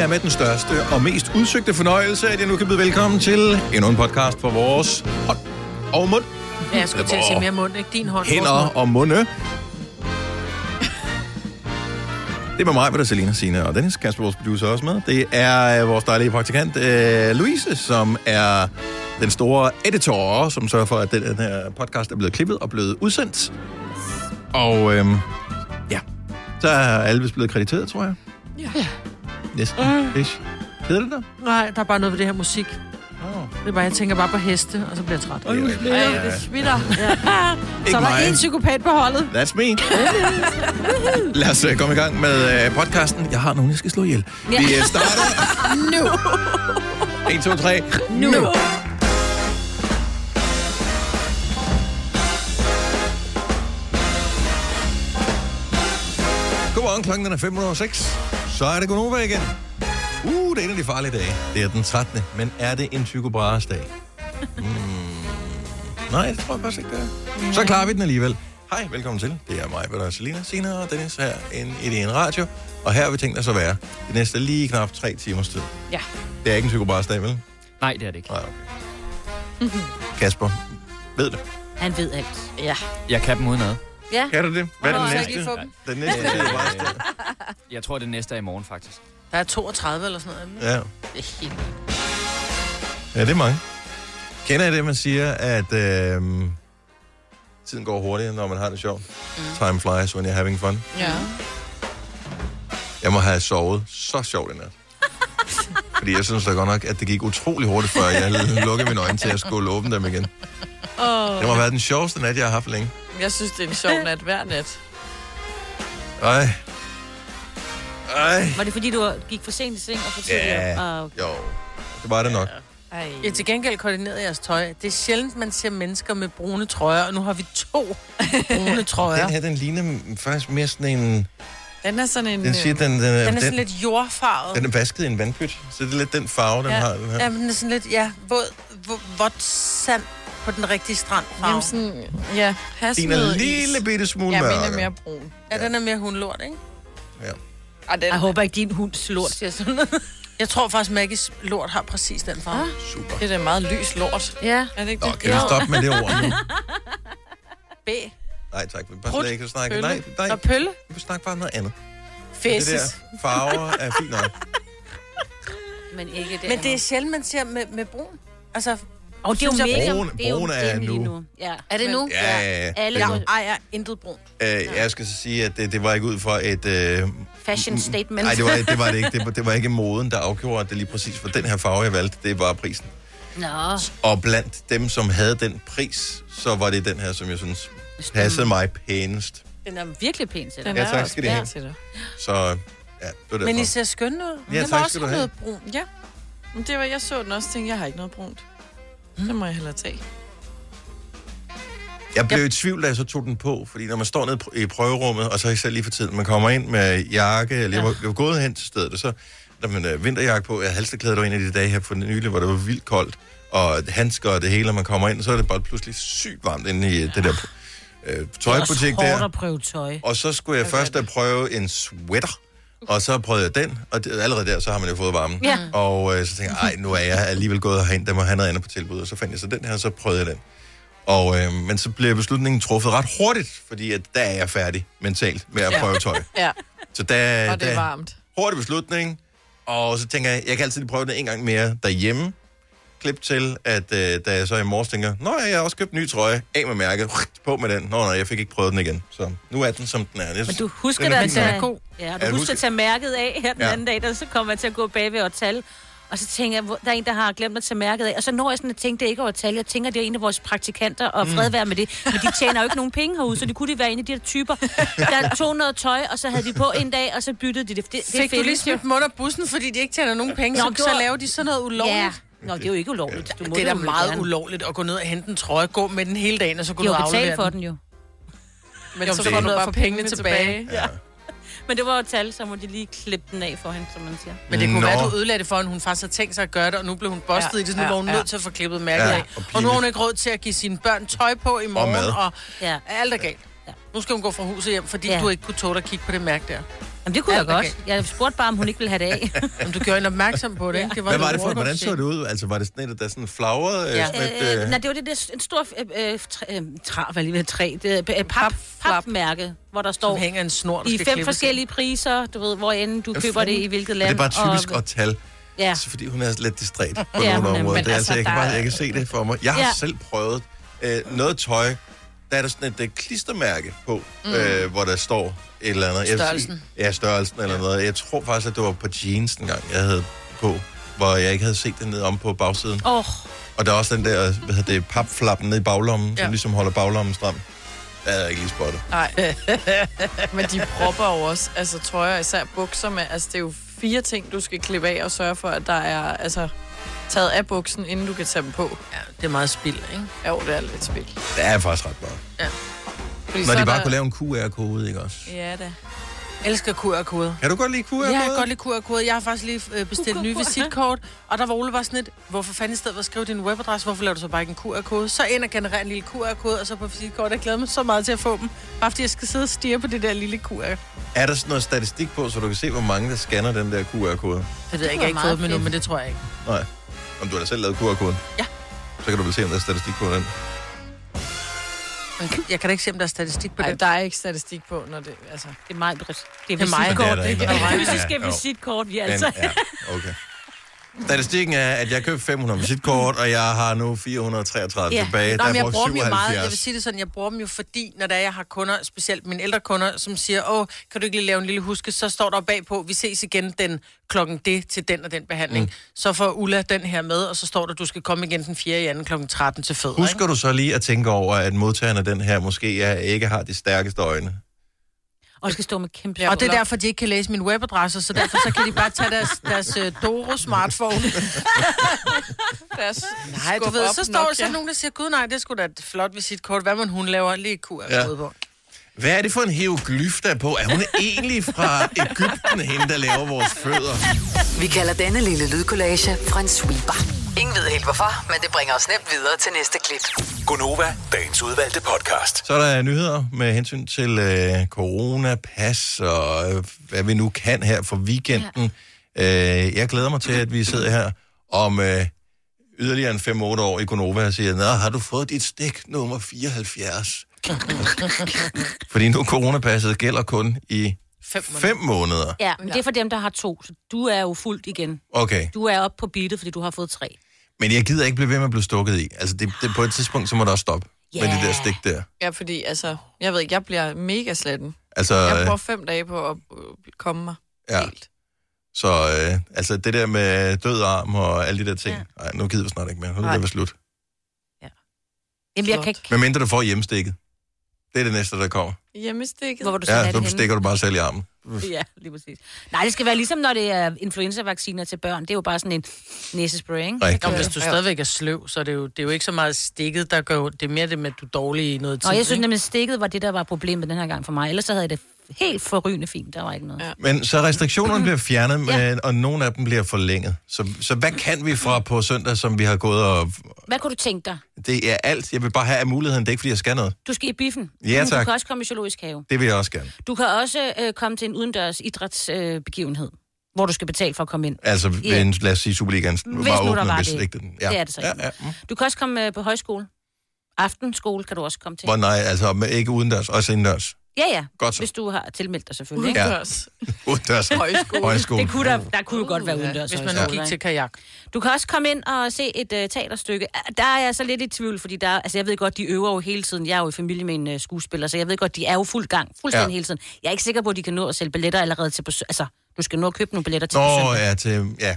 er med den største og mest udsøgte fornøjelse, at jeg nu kan byde velkommen til endnu en podcast for vores hånd og mund. Ja, jeg skulle til at sige mere mund, ikke? Din hånd. vores Hænder mund. og munde. Det er med mig, hvor der er Selina, Signe og Dennis, Kasper, vores producer, er også med. Det er øh, vores dejlige praktikant, øh, Louise, som er den store editor, som sørger for, at den, den her podcast er blevet klippet og blevet udsendt. Og øh, ja, så er alle vist blevet krediteret, tror jeg. Ja. Næsten. Øh. Ish. Hedder det der? Nej, der er bare noget ved det her musik. Det er bare, jeg tænker bare på heste, og så bliver jeg træt. Det er rigtigt. Ej, det smitter. Ja. Ikke Så er der mig. en psykopat på holdet. That's me. Lad os øh, komme i gang med øh, podcasten. Jeg har nogen, jeg skal slå ihjel. Vi øh, starter... Nu. 1, 2, 3. Nu. Godmorgen, klokken er 5 over 6. Så er det Gunova igen. Uh, det er en af de farlige dage. Det er den 13. Men er det en psykobrares dag? Mm. Nej, det tror jeg faktisk ikke, det er. Så klarer vi den alligevel. Hej, velkommen til. Det er mig, Peter Selina, Sina og Dennis her inde i DN Radio. Og her har vi tænkt os at være de næste lige knap tre timers tid. Ja. Det er ikke en psykobrares dag, vel? Nej, det er det ikke. Nej, okay. Mm-hmm. Kasper, ved du? Han ved alt. Ja. Jeg kan dem udenad. Ja. Kan du det? Hvad er Hvornår den har jeg ikke næste? få dem? Den næste psykobrares dag. Jeg tror, det næste er i morgen, faktisk. Der er 32 eller sådan noget. Ja. Det er helt vildt. Ja, det er mange. Kender I det, man siger, at øh, tiden går hurtigere, når man har det sjovt? Mm. Time flies when you're having fun. Ja. Jeg må have sovet så sjovt i nat. Fordi jeg synes da godt nok, at det gik utrolig hurtigt, før jeg lukkede mine øjne til at skulle åbne dem igen. Oh. Det må have været den sjoveste nat, jeg har haft længe. Jeg synes, det er en sjov nat hver nat. Ej. Ej. Var det fordi, du gik for sent i seng og for tidligt? Ja, op? Ah, okay. jo. Det var det nok. Ej. Jeg til gengæld koordineret jeres tøj. Det er sjældent, man ser mennesker med brune trøjer, og nu har vi to brune trøjer. Den her, den ligner faktisk mere sådan en... Den er sådan en... Den øh, siger, den, den, den, Den er den, sådan den, lidt jordfarvet. den er vasket i en vandpyt. Så det er lidt den farve, den ja. har. Den her. Ja, men den er sådan lidt, ja, våd, vå- vådt sand på den rigtige strand. Jamen sådan, ja, has Din er en lille bitte smule Ja, mørkere. min er mere brun. Ja, den er mere hundlort, ikke? Ja. Ah, den, Jeg håber ikke, din hund slort. Siger sådan noget. Jeg tror faktisk, Maggies lort har præcis den farve. Ah. Super. det er da meget lys lort. Ja. Er det ikke Nå, det? kan vi stoppe med det ord nu? B. Nej, tak. Vi bare Prut, slet ikke at snakke. pølle. Nej, nej. Og pølle? Vi vil snakke bare om noget andet. Det Fæsis. der farver er fint nok. Men ikke det. Men det er sjældent, man ser med, med brun. Altså, Og det er jo synes jeg- mega. Broen- det er jo broen er den lige nu. Ja. er det nu? Ja, ja, ja. Alle Ja. ja. Ej, jeg intet brunt. Øh, jeg skal så sige, at det, det var ikke ud fra et... Øh, fashion Mm-hmm. statement. nej, det var, det var det ikke. Det, var- det var ikke moden, der afgjorde, at det lige præcis var den her farve, jeg valgte. Det var prisen. Nå, Og blandt dem, som havde den pris, så var det den her, som jeg synes passede mig pænest. den er virkelig pæn til dig. Den Ja, er tak også skal I have. pæn til dig. Så ja, det var derfor. Men I ser skønne ud. Ja, Den tak var også skal du have. noget brun. Ja. Men det var, jeg så den også, tænkte, jeg har ikke noget brunt. Mm. Det må jeg hellere tage. Jeg blev i tvivl, da jeg så tog den på, fordi når man står nede i prøverummet, og så især lige for tiden, man kommer ind med jakke, eller jeg var, jeg var gået hen til stedet, og så der man øh, vinterjakke på, jeg halsteklæder, det var en af de dage her for nylig, hvor det var vildt koldt, og handsker og det hele, og man kommer ind, så er det bare pludselig sygt varmt inde i det der Ah. øh, tøjbutik Det er også hårdt der. at prøve tøj. Og så skulle jeg først at prøve en sweater, og så prøvede jeg den, og det, allerede der, så har man jo fået varmen. Ja. Og øh, så tænkte jeg, ej, nu er jeg alligevel gået herind, der må have noget andet på tilbud. Og så fandt jeg så den her, og så prøvede jeg den. Og, øh, men så blev beslutningen truffet ret hurtigt, fordi at der er jeg færdig mentalt med at prøve tøj. Ja, Så der, og det er der, varmt. hurtig beslutning, og så tænker jeg, jeg kan altid lige prøve den en gang mere derhjemme. Klip til, at øh, da jeg så i morges tænker, nå ja, jeg har også købt en ny trøje, af med mærket, på med den. Nå nej, jeg fik ikke prøvet den igen. Så nu er den, som den er. Jeg, Men du husker Den er da at fint tage, nok. god. ja, Ja, du husker husker- at tage mærket af her den Ja. ja. anden dag, der så kommer jeg til at gå bagved og tal. Og så tænker jeg, hvor- der er en, der har glemt at tage mærket af. Og så når jeg sådan at tænke, det er ikke over tal. Jeg tænker, det er en af vores praktikanter, Mm. og fred være med det. Men de tjener jo ikke nogen penge herude, så det kunne de være en af de der typer. Der tog noget tøj, og så havde de på en dag, og så byttede de det. Det, det Fik du findes lige jo. smidt dem under bussen, fordi de ikke tjener nogen penge, Nå, så, det så var- laver de sådan noget ulovligt. Ja. Nå, det er jo ikke ulovligt. Du må Det er da jo meget gerne. ulovligt at gå ned og hente en trøje, gå med den hele dagen, og så gå De ned har og jo betalt aflevere for den. den jo. Men Jo, så det får er- du at bare få pengene tilbage. ja. Men det var jo tal, så må de lige klippe den af for hende, som man siger. Men det kunne Nå. være, at du ødelagde det for hende. Hun faktisk havde tænkt sig at gøre det, og nu blev hun bustet ja, Ja, i det, så nu ja, var hun ja. nødt til at få klippet mærket Ja, af. og Og nu har hun pinligt. ikke råd til at give sine børn tøj på i morgen, mad. og, Ja. alt er galt. Ja. Nu skal hun gå fra huset hjem, fordi Ja. du ikke kunne tåle at kigge på det mærke der. Jamen, det kunne Ja, jeg godt. okay. Jeg spurgte bare, om hun ikke ville have det af. Jamen, du gjorde en opmærksom på det, ikke? Det Hvad en var det for, walk-up hvordan så shit. det ud? Altså, var det sådan et, der sådan flagrede? Ja. Ja. Sådan et, øh, øh, nej, det var det der en stor øh, øh, træ, øh, træ, hvad lige ved, træ, det, øh, pap, Papflap. papmærke, hvor der Som står hænger en snor, der i skal fem klippes forskellige priser, du ved, hvor end du Hvad køber det fanden? i hvilket det land. er bare typisk og, at tal, Ja, så Altså, fordi hun er lidt distræt på Ja, ja, hun nogle er- områder. men Det er, altså, altså, jeg, kan der bare, er- jeg kan se det for mig. Jeg har Ja. selv prøvet øh, noget tøj, der er der sådan et øh, klistermærke på, mm. øh, hvor der står et eller andet. Jeg- Størrelsen. Ja, størrelsen eller noget. Jeg tror faktisk, at det var på jeans en gang, jeg havde på, hvor jeg ikke havde set det nede om på bagsiden. åh, oh, Og der er også den der, hvad hedder det, papflappen nede i baglommen, ja. Ja. som ligesom holder baglommen stram. Det havde jeg ikke lige spottet. Nej. Men de propper jo også, altså trøjer, især bukser med, altså det er jo fire ting, du skal klippe af og sørge for, at der er, altså taget af buksen, inden du kan tage dem på. Ja, det er meget spild, ikke? Ja, jo, det er lidt spild. Fordi Det er faktisk ret meget. så Når er de bare der- kunne lave en QR-kode, ikke også? Ja, da. Jeg elsker QR-koder. Kan du godt lide QR-kode? Jeg kan godt lide QR-koder. Jeg har faktisk lige øh, bestilt nye visitkort, og der var Ole bare sådan lidt, hvorfor fanden i stedet for at skrive din webadresse, hvorfor laver du så bare ikke en QR-kode? Så ind og generere en lille QR-kode, og så på visitkort. Jeg glæder mig så meget til at få dem, bare fordi jeg skal sidde og stirre på det der lille QR. Er der sådan noget statistik på, så du kan se, hvor mange, der scanner den der QR-kode? Det ved jeg ikke, jeg var har ikke meget fået dem endnu, fedt. men det tror jeg ikke. Nej. Om du har da selv lavet QR-koden? Ja. Så kan du vel se, om der er statistik på den. Men jeg kan da ikke se, om der er statistik på Ej, det. der er ikke statistik på, når det, altså... det er mig, Britt. Det er Det er mig. visitkort. Men det er der Det ikke er noget. fysiske Ja, jo. visitkort, vi er Men, altså. ja, okay. Statistikken er, at jeg købte 500 visitkort, og jeg har nu 433 Ja. tilbage. Nå, der men er jeg brugt bruger dem jo meget. Jeg vil 77. sige det sådan, jeg bruger dem jo, fordi når der er, jeg har kunder, specielt mine ældre kunder, som siger, åh, kan du ikke lige lave en lille huske, så står der bagpå, vi ses igen den klokken det til den og den behandling. Mm. Så får Ulla den her med, og så står der, du skal komme igen den 4. i anden klokken 13 til fødder. ikke? Husker du så lige at tænke over, at modtageren af den her måske er, ikke har de stærkeste øjne? Og skal stå med kæmpe Og det er derfor, de ikke kan læse min webadresse, så derfor så kan de bare tage deres, deres uh, Doro-smartphone. Deres Nej, du ved, så står der så nogen, der siger, gud nej, det skulle da et flot visitkort. Hvad man hun laver lige kur Ja. ja. på. Hvad er det for en hieroglyf, der er på? Er hun egentlig fra Ægypten, hende, der laver vores fødder? Vi kalder denne lille lydkollage en sweeper. Ingen ved helt hvorfor, men det bringer os nemt videre til næste klip. Gunova, dagens udvalgte podcast. Så er der nyheder med hensyn til øh, corona, pas og øh, hvad vi nu kan her for weekenden. Ja. Øh, jeg glæder mig til, at vi sidder her om øh, yderligere en 5-8 år i Gonova og siger, Nå, har du fået dit stik nummer 74? Fordi nu coronapasset gælder kun i Fem 5 måneder. Ja, men det er for dem, der har to, så du er jo fuldt igen. Okay, Du er oppe på beatet, fordi du har fået tre. men jeg gider ikke blive ved med at blive stukket i. Altså det, det, på et tidspunkt, så må der også stoppe yeah. med det der Ja. stik der. Ja, fordi altså, jeg ved ikke, jeg bliver mega slatten. Altså, Jeg øh, bruger fem dage på at øh, komme mig Ja. ja. helt. Så øh, altså det der med død arm og alle de der ting, nej, nu gider vi snart ikke mere. Nu er Nej. det ved slut. Jamen, jeg kan ikke... Men mindre du får hjemstikket. Det er det næste, der kommer. Hjemmestikket. Hvor var du så Ja, ja, så det henne? stikker du bare selv i armen. Ja, lige præcis. Nej, det skal være ligesom, når det er influenza-vacciner til børn. Det er jo bare sådan en næsespray, ikke? Nå, men Rigtigt. hvis du stadigvæk er sløv, så er det jo, det er jo ikke så meget stikket, der gør ondt. Det er mere det med, at du er dårlig i noget tid. Og jeg synes ikke? nemlig, stikket var det, der var problemet den her gang for mig. Ellers så havde jeg det helt forrygende fint. Der var ikke noget. Ja. Men så restriktionerne bliver fjernet, men, og nogle af dem bliver forlænget. Så, så hvad kan vi fra på søndag, som vi har gået og... Hvad kunne du tænke dig? Det er alt. Jeg vil bare have af muligheden. Det er ikke, fordi jeg skal noget. Du skal i biffen. Ja, Men tak. Du kan også komme i zoologisk have. Det vil jeg også gerne. Du kan også øh, komme til en udendørs idrætsbegivenhed, øh, begivenhed, hvor du skal betale for at komme ind. Altså, Ja. yeah. en, lad os sige, Superligaen nu var der åben, var hvis det. ikke den... Det er det så ja, ikke. ja. Mm. Du kan også komme øh, på højskole. Aftenskole kan du også komme til. Hvor nej, altså men ikke udendørs, også indendørs. Ja, ja. Godt så. Hvis du har tilmeldt dig selvfølgelig. Ikke? Udendørs. Udendørs. Højskole. Altså, Højskole. Det kunne der, der kunne jo godt være udendørs. Hvis man højskole, nu gik ikke? til kajak. Du kan også komme ind og se et øh, teaterstykke. Ah, Der er jeg så lidt i tvivl, fordi der, altså, jeg ved godt, de øver jo hele tiden. Jeg er jo i familie med en øh, skuespiller, så jeg ved godt, de er jo fuld gang, fuldstændig ja. Ja. hele tiden. Jeg er ikke sikker på, at de kan nå at sælge billetter allerede til på sø- Altså, du skal nå at købe nogle billetter til på Nå, søndag. ja, til, ja.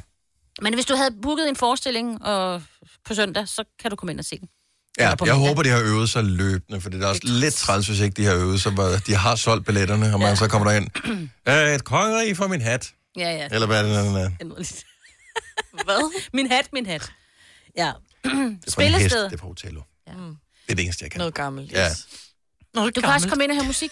Men hvis du havde booket en forestilling og, på søndag, så kan du komme ind og se den. Ja, Eller på jeg mandag. håber, de har øvet sig løbende, for det er også lidt træls, hvis ikke de har øvet sig. hvor De har solgt billetterne, og man så kommer derind. Øh, et kongerige for min hat. Ja, ja. Eller hvad er det, den er? Hvad? min hat, min hat. Ja. For en hest, Spillested. Det er på hotellet. Ja. Mm. Det er det eneste, jeg kan. Noget gammelt, yes. Ja. ja. Du kan også komme ind og høre musik,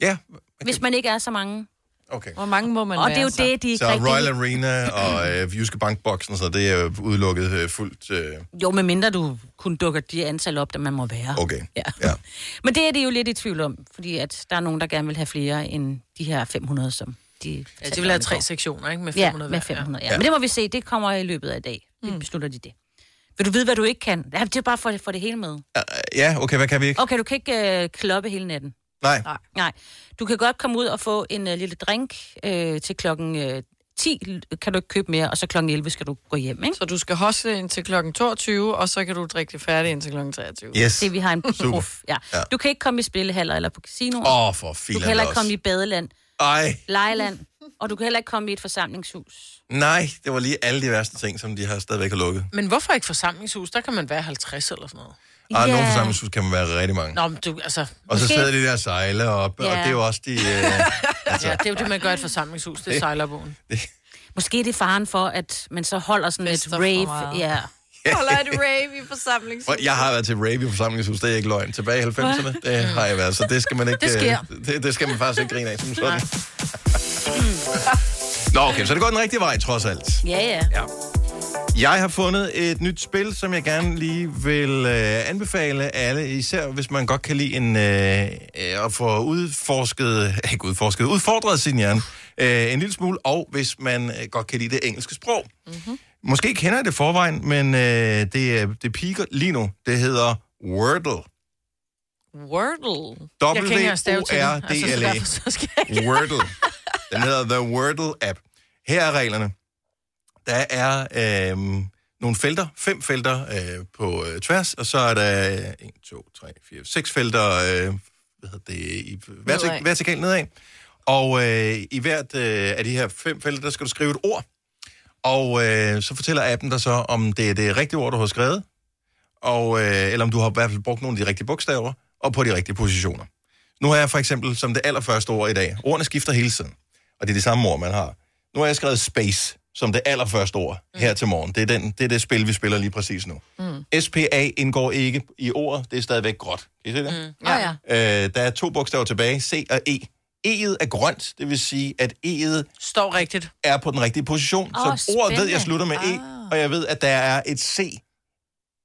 Ja, hvis man ikke er så mange. okay. Hvor mange må man Og være, det er jo så? det, de ikke Så Royal Arena og øh, Jyske Bankboksen, så det er jo udelukket øh, fuldt... Øh, Jo, medmindre du kun dukker de antal op, der man må være. okay. Ja. Ja. Men det er de jo lidt i tvivl om, fordi at der er nogen, der gerne vil have flere end de her 500, som de... Ja, de vil have tre sektioner, ikke? Med Ja, 500 med hver, 500, ja. Men det må vi se, det kommer i løbet af i dag. Vi beslutter de det. Vil du vide, hvad du ikke kan? Ja, det er bare for, for det hele med. Ja, okay, hvad kan vi ikke? Okay, du kan ikke øh, kloppe hele natten. Nej. Nej. Du kan godt komme ud og få en øh, lille drink øh, til klokken øh, 10, kan du ikke købe mere, og så klokken 11 skal du gå hjem, ikke? Så du skal hostle indtil klokken 22, og så kan du drikke det færdigt indtil klokken 23. Yes. Det vi har en Super. prof. Ja. Ja. Du kan ikke komme i spillehaller eller på casino. Åh, oh, for du filan kan heller ikke også. komme i badeland, Ej, lejeland, og du kan heller ikke komme i et forsamlingshus. nej, det var lige alle de værste ting, som de har stadigvæk har lukket. Men hvorfor ikke forsamlingshus? Der kan man være 50 eller sådan noget. Og yeah. Ja. nogle forsamlingshus kan man være rigtig mange. Nå, men du, altså... Og så Måske- sidder de der og sejler op, og Ja. det er jo også de... Øh, altså, Ja, det er jo det, man gør i et forsamlingshus. Det er sejlerbogen. Måske er det faren for, at man så holder sådan et Fester for rave. meget. Ja. Holder et rave i forsamlings. Prøv, jeg har været til rave i forsamlingshus, det er ikke løgn. Tilbage i 90'erne, det har jeg været, så det skal man ikke... Det sker. øh, Det, det skal man faktisk ikke grine af som sådan. Nå, okay, så det går den rigtige vej, trods alt. ja, ja. Jeg har fundet et nyt spil, som jeg gerne lige vil øh, anbefale alle, især hvis man godt kan lide en, øh, øh, at få udforsket, ikke udforsket, udfordret sin hjerne øh, en lille smule, og hvis man øh, godt kan lide det engelske sprog. Mhm. Mm-hmm. Måske kender jeg det i forvejen, men øh, det, er- det piker lige nu. Det hedder Wordle. Wordle. Jeg kan ikke E. engang stave til det. Altså, så W-O-R-D-L-E. derfor så skal jeg ikke. Wordle. Den hedder The Wordle App. Her er reglerne. Der er øhm, nogle felter, fem felter øh, på øh, tværs, og så er der øh, 1, 2, 3, 4, 6 felter øh, hvad hedder det, i vertik- Nedad. vertikalt nedad. Og øh, i hvert øh, af de her fem felter, der skal du skrive et ord. Og øh, så fortæller appen dig så, om det er det rigtige ord, du har skrevet, og, øh, eller om du har i hvert fald brugt nogle af de rigtige bogstaver, og på de rigtige positioner. Nu har jeg for eksempel som det allerførste ord i dag. Ordene skifter hele tiden, og det er det samme ord, man har. Nu har jeg skrevet space som det allerførste ord her til morgen. Det er, den, det er det spil, vi spiller lige præcis nu. Mm. SPA indgår ikke i ordet. Det er stadigvæk gråt. Kan I se det? Mm. Ja, ja. Øh, der er to bogstaver tilbage, C og E. E'et er grønt, det vil sige, at E'et Står rigtigt. er på den rigtige position. Oh, så Åh, ordet ved, jeg spændende. slutter med E, og jeg ved, at der er et C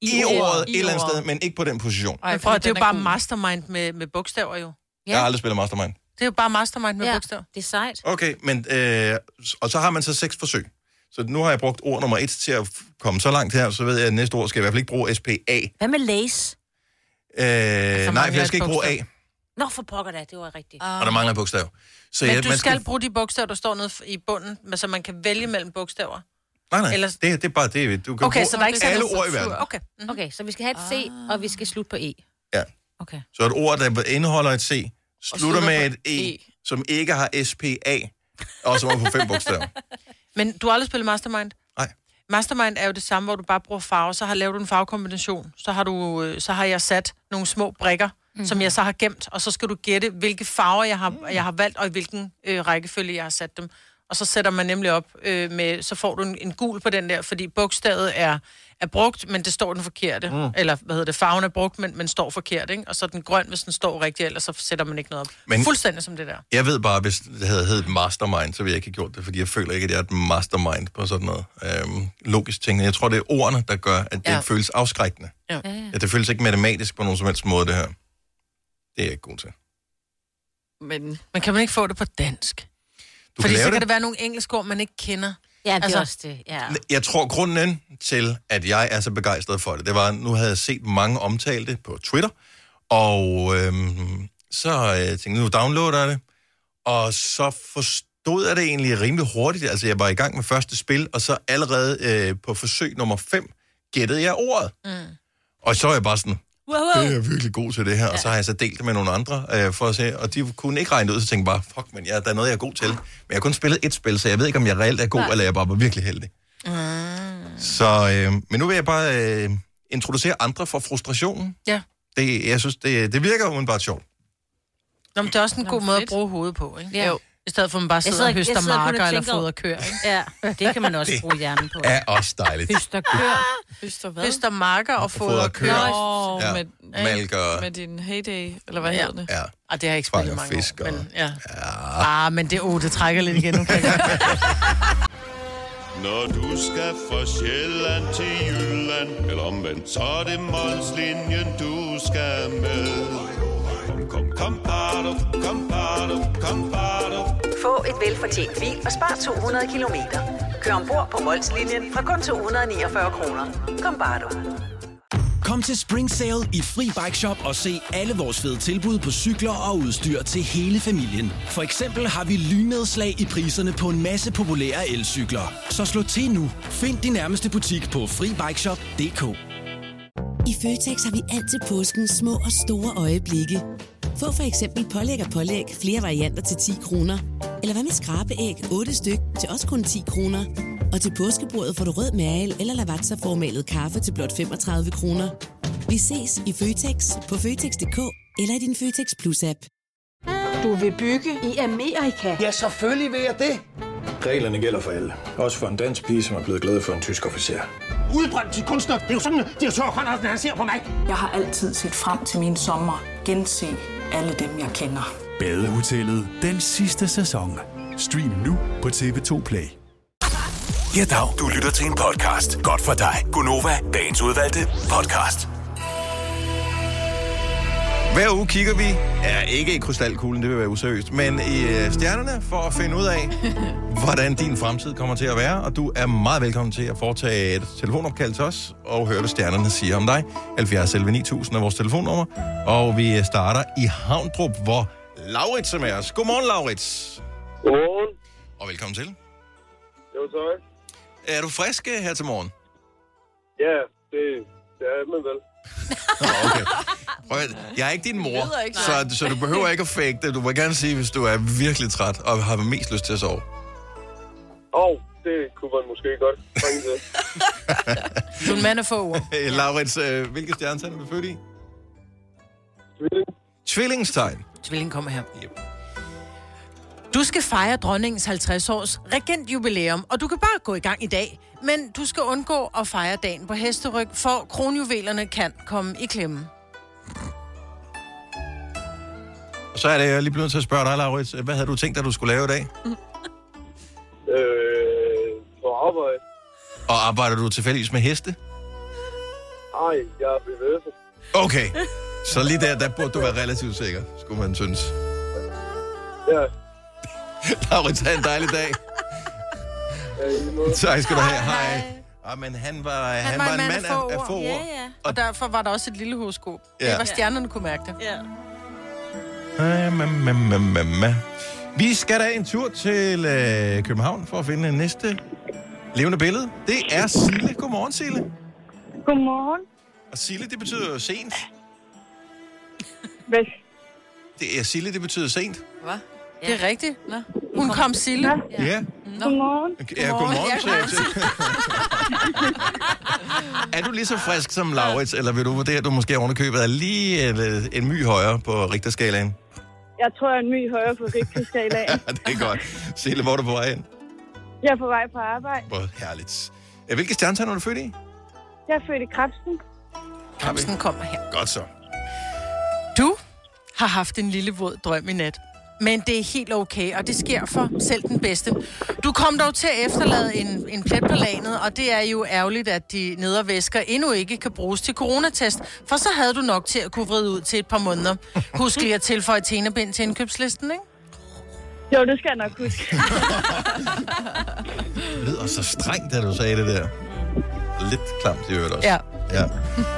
i ordet et eller andet sted, men ikke på den position. Men prøv, at- det er jo bare mastermind med, med bogstaver jo. Ja. Jeg har aldrig spillet Mastermind. Det er jo bare mastermind med Ja, bogstaver. det er sejt. Okay, men, øh, og så har man så seks forsøg. Så nu har jeg brugt ord nummer et til at f- komme så langt her, så ved jeg, at næste ord skal jeg i hvert fald ikke bruge SPA. Øh, Hvad med lace? nej, for Altså, mangler jeg skal et ikke bruge A, bogstav. Nå, for pokker da, det var rigtigt. og der Ah. mangler et bogstav. Så Men jeg- du man skal, bruge de bogstaver, der står nede f- i bunden, men så man kan vælge mellem bogstaver. Nej, nej, ellers- det, det er bare det. Du kan Okay, bruge så der er ikke alle sådan noget ord i verden. struktur. Okay. Mm. Okay, så vi skal have et C, Ah. og vi skal slutte på E. Ja. Okay. Så et ord, der indeholder et C, slutter slutter med et på E, E. som ikke har SPA, og som er på fem bogstaver. Men du har aldrig spillet mastermind? Nej. Mastermind er jo det samme, hvor du bare bruger farver, så har lavet du en farvekombination, så har, du, øh, så har jeg sat nogle små brikker, mm. som jeg så har gemt, og så skal du gætte, hvilke farver jeg har, jeg har valgt, og i hvilken øh, rækkefølge jeg har sat dem. Og så sætter man nemlig op øh, med, så får du en, en gul på den der, fordi bogstavet er, er brugt, men det står den forkerte. Mm. Eller hvad hedder det, farven er brugt, men, men står forkert, ikke? Og så er den grøn, hvis den står rigtigt, ellers så sætter man ikke noget op. Men- Men... Fuldstændig som det der. Jeg ved bare, hvis det havde heddet mastermind, så ville jeg ikke have gjort det, fordi jeg føler ikke, at jeg er et mastermind på sådan noget øhm, logisk ting. Jeg tror, det er ordene, der gør, at det ja. Ja. føles afskrækkende. Ja. Ja, ja. At det føles ikke matematisk på nogen som helst måde, det her. Det er jeg ikke god til. Men Men kan man ikke få det på dansk? Du Fordi så kan lave kan det. det være nogle engelske ord, man ikke kender. Ja, det altså, Altså- er også det. Ja. Jeg tror, grunden til, at jeg er så begejstret for det, det var, at nu havde jeg set mange omtalte på Twitter, og øhm, så øh, tænkte jeg, nu downloader jeg det, og så forstod jeg det egentlig rimelig hurtigt. Altså, jeg var i gang med første spil, og så allerede øh, på forsøg nummer 5 gættede jeg ordet. Mm. Og så er jeg bare sådan, Wow, wow. det er jeg virkelig god til det her. Ja. Og så har jeg så delt det med nogle andre øh, for at se, og de kunne ikke regne det ud, så tænkte jeg bare, fuck, men jeg, der er noget, jeg er god til. Men jeg har kun spillet et spil, så jeg ved ikke, om jeg reelt er god, eller jeg bare var virkelig heldig. Mm. Så, øh, men nu vil jeg bare øh, introducere andre for frustrationen. Ja. Det, jeg synes, det, det virker umiddelbart sjovt. Nå, men det er også en Nå, god men måde at fedt. bruge hovedet på, ikke? Ja. Jo. I stedet for, at man bare sidder sidder og ikke- jeg høster sidder kun og marker eller tænker over- fodrer køer, ikke? ja, det kan man også bruge hjernen på. er også dejligt. Høster kører. Øster hvad? Høster marker og fodrer fodrer køer. køer. Nå, Ja. ja. med, Malker. med din heyday, eller hvad ja. hedder det? Ja. Ah, det har jeg ikke spillet i Fanger mange fisk og- år. Men, ja. ja. Ah, men det, oh, det trækker lidt igen. Nu kan jeg godt- Når du skal fra Sjælland til Jylland Eller omvendt, så er det Molslinjen, du skal med Kom, kom, kom, bado, kom, bado, kom, bado. Få et velfortjent bil og spar 200 kilometer. Kør ombord på Molslinjen fra kun 249 kroner. Kom bare du. Kom til Spring Sale i Fri Bike Shop og se alle vores fede tilbud på cykler og udstyr til hele familien. For eksempel har vi lynedslag i priserne på en masse populære elcykler. Så slå til nu. Find din nærmeste butik på FriBikeShop.dk I Føtex har vi altid påsken små og store øjeblikke. Få for eksempel pålæg og pålæg flere varianter til 10 kroner. Eller hvad med skrabeæg 8 styk til også kun 10 kroner. Og til påskebordet får du rød mal eller lavatserformalet kaffe til blot 35 kroner. Vi ses i Føtex på Føtex.dk eller i din Føtex Plus-app. Du vil bygge i Amerika? Ja, selvfølgelig vil jeg det. Reglerne gælder for alle. Også for en dansk pige, som er blevet glad for en tysk officer. Udbrændt til kunstner. Det er jo sådan, at de har tørt, han ser på mig. Jeg har altid set frem til min sommer. Gense alle dem, jeg kender. Badehotellet den sidste sæson. Stream nu på TV2 Play. Ja, dag. Du lytter til en podcast. Godt for dig. Gunova, dagens udvalgte podcast. Hver uge kigger vi, ja, ikke i krystalkuglen, det vil være useriøst, men i øh, stjernerne for at finde ud af, hvordan din fremtid kommer til at være. Og du er meget velkommen til at foretage et telefonopkald til os og høre, hvad stjernerne siger om dig. 70 11 9000 er vores telefonnummer. Og vi øh, starter i Havndrup, hvor Laurits er med os. Godmorgen, Laurits. Godmorgen. Og velkommen til. Jo, tak. Er du frisk øh, her til morgen? Ja, det, det er man vel. Prøv at, jeg er ikke din Det mor, lyder ikke sådan. så, så du behøver ikke at fake det. Du må gerne sige, hvis du er virkelig træt og har mest lyst til at sove. Og det kunne man måske godt bringe til. Du er en mand af få ord. Laurits, øh, hvilke stjernetegn er du født i? Tvillingstegn. Tvillingen kommer her. Yep. Du skal fejre dronningens 50-års regentjubilæum, og du kan bare gå i gang i dag. Men du skal undgå at fejre dagen på hesteryg, for kronjuvelerne kan komme i klemme. Og så er det, jeg er lige blevet nødt til at spørge dig, Laurits. Hvad havde du tænkt dig, du skulle lave i dag? Øh, på arbejde. Og arbejder du tilfældigvis med heste? Ej, jeg er bevæget. Okay. Så lige der, der burde du være relativt sikker, skulle man synes. Ja. Laurits, have en dejlig dag. Tak skal du have. Hej. Ah, men han var, han var, en mand af, af få ord. Ja, ja. Og derfor var der også et lille horoskop. Ja. Ja. Det var stjernerne kunne mærke det. Ja. Ah, ma, ma, ma, ma, ma. Vi skal da en tur til øh, København for at finde næste levende billede. Det er Sille. Godmorgen, Sille. Godmorgen. Og Sille, det betyder jo sent. Hvad? Det er Sille, det betyder sent. Hvad? Ja. Det er rigtigt. Nå. Hun kom Sille. Ja. ja. Godmorgen. Ja, godmorgen til, Ja, til. Er du lige så frisk som Laurits, eller vil du vurdere, at du måske ovenikøbet er lige en, en my højere på rigterskalaen? Jeg tror, jeg er en my højere på rigtig i dag. Ja, det er godt. Sille, hvor er du på vej hen? Jeg er på vej på arbejde. Hvor herligt. Ja, Hvilke stjernetegn er du født i? Jeg er født i Krebsen. Krebsen kommer her. Godt så. Du har haft en lille våd drøm i nat. Men det er helt okay, og det sker for selv den bedste. Du kom dog til at efterlade en, en plet på lanet, og det er jo ærgerligt, at de nedre væsker endnu ikke kan bruges til coronatest, for så havde du nok til at kunne vride ud til et par måneder. Husk lige at tilføje tenebind til indkøbslisten, ikke? Jo, det skal jeg nok huske. Det lyder så strengt, da du sagde det der. Lidt klamt i øvrigt også. Ja. ja.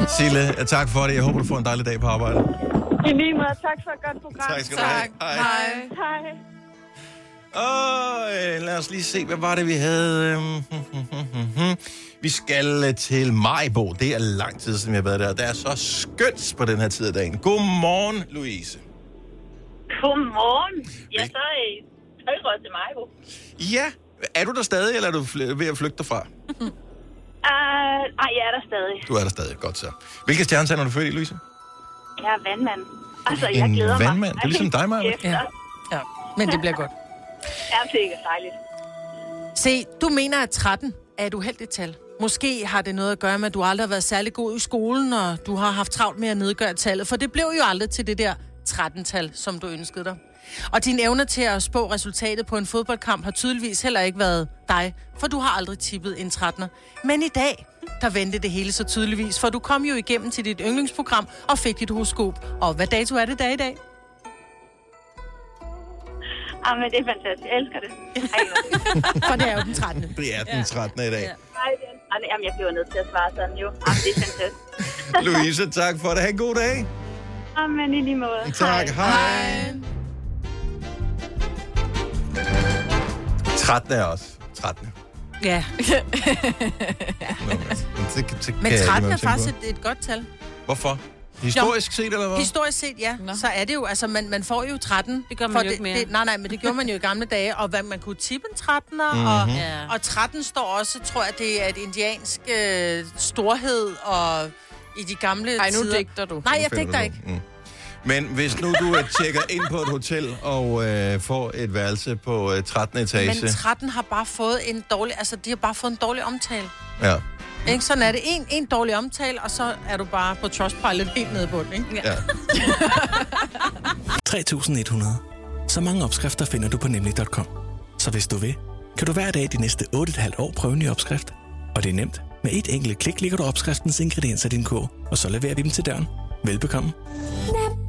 Sille, tak for det. Jeg håber, du får en dejlig dag på arbejde. I lige måde. Tak for et godt program. Tak skal du have. Tak. Hej. Hej. Hej. Og øh, lad os lige se, hvad var det, vi havde? Øhm, hm. Vi skal øh, til Majbo. Det er lang tid siden, jeg har været der. Der er så skønt på den her tid af dagen. Godmorgen, Louise. Godmorgen. Ja, så er I tøjrød til mig, jo. Ja, er du der stadig, eller er du fl- ved at flygte derfra? Uh, Øh, ej, jeg er der stadig. Du er der stadig. Godt så. Hvilke stjernetegn er du født i, Louise? Jeg er vandmand. Altså, jeg En glæder mig. vandmand. Det er ligesom dig, Maja. Ja. ja, men det bliver godt. Ja, det er dejligt. Se, du mener, at 13 er et uheldigt tal. Måske har det noget at gøre med, at du aldrig har været særlig god i skolen, og du har haft travlt med at nedgøre tallet, for det blev jo aldrig til det der 13-tal, som du ønskede dig. Og din evne til at spå resultatet på en fodboldkamp har tydeligvis heller ikke været dig, for du har aldrig tippet en 13'er. Men i dag, der vendte det hele så tydeligvis, for du kom jo igennem til dit yndlingsprogram og fik dit horoskop. Og hvad dato er det dag i dag? Jamen, Ah, det er fantastisk. Jeg elsker det. Ej, hvor fedt. For det er jo den 13. Det er den 13. i Ej, dag. det er- Ej, Jamen, jeg bliver nødt til at svare sådan jo. Jamen, det er fantastisk. Louise, tak for det. Ha' en god dag. Jamen, i lige måde. Tak, hej. 13 er også. 13. Ja. Det, det, det Men 13 er faktisk et, et godt tal. Hvorfor? Historisk set, eller hvad? Historisk set, ja. Nå. Så er det jo, altså, man, man får jo 13. Det gør man jo ikke mere. Det, nej, nej, men det gjorde man jo i gamle dage, og hvad, man kunne tippe en 13'er, Mhm. mm-hmm. og, Ja. og 13 står også, tror jeg, det er et indiansk øh, storhed, og i de gamle Ej, nu tider. digter du. Nej, Nu jeg finder du digter noget. ikke. Mm. Men hvis nu du øh, tjekker ind på et hotel og øh, får et værelse på øh, 13. etage. Men 13 har bare fået en dårlig, altså de har bare fået en dårlig omtale. Ja. Ikke? Sådan er det. En, en dårlig omtale, og så er du bare på Trustpilot helt nede i bunden, ikke? Ja. 3100. Så mange opskrifter finder du på nemlig.com. Så hvis du vil, kan du hver dag de næste 8,5 år prøve en ny opskrift. Og det er nemt. Med et enkelt klik ligger du opskriftens ingredienser i din kog, og så leverer vi dem til døren. Velbekomme.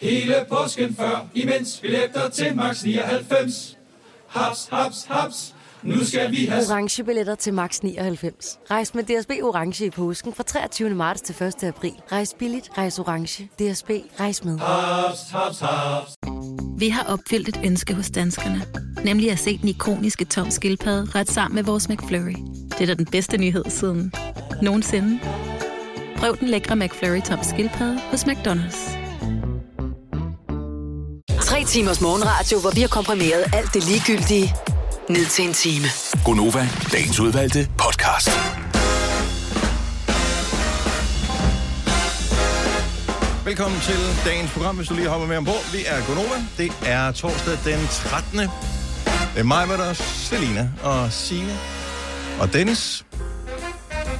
Hele påsken før, imens billetter til max 99. Haps, haps, haps. Nu skal vi have... orange billetter til max 99. Rejs med DSB orange i påsken fra 23. marts til 1. april. Rejs billigt, rejs orange. DSB rejs med. Haps, haps, haps. Vi har opfyldt et ønske hos danskerne. Nemlig at se den ikoniske tom skildpadde ret sammen med vores McFlurry. Det er da den bedste nyhed siden nogensinde. Prøv den lækre McFlurry tom skildpadde hos McDonald's. Tre timers morgenradio, hvor vi har komprimeret alt det ligegyldige ned til en time. Gonova, dagens udvalgte podcast. Velkommen til dagens program, hvis du lige hopper med ombord. Vi er Gonova. Det er torsdag den 13. Det er mig, hvad der er Selina og Signe og Dennis.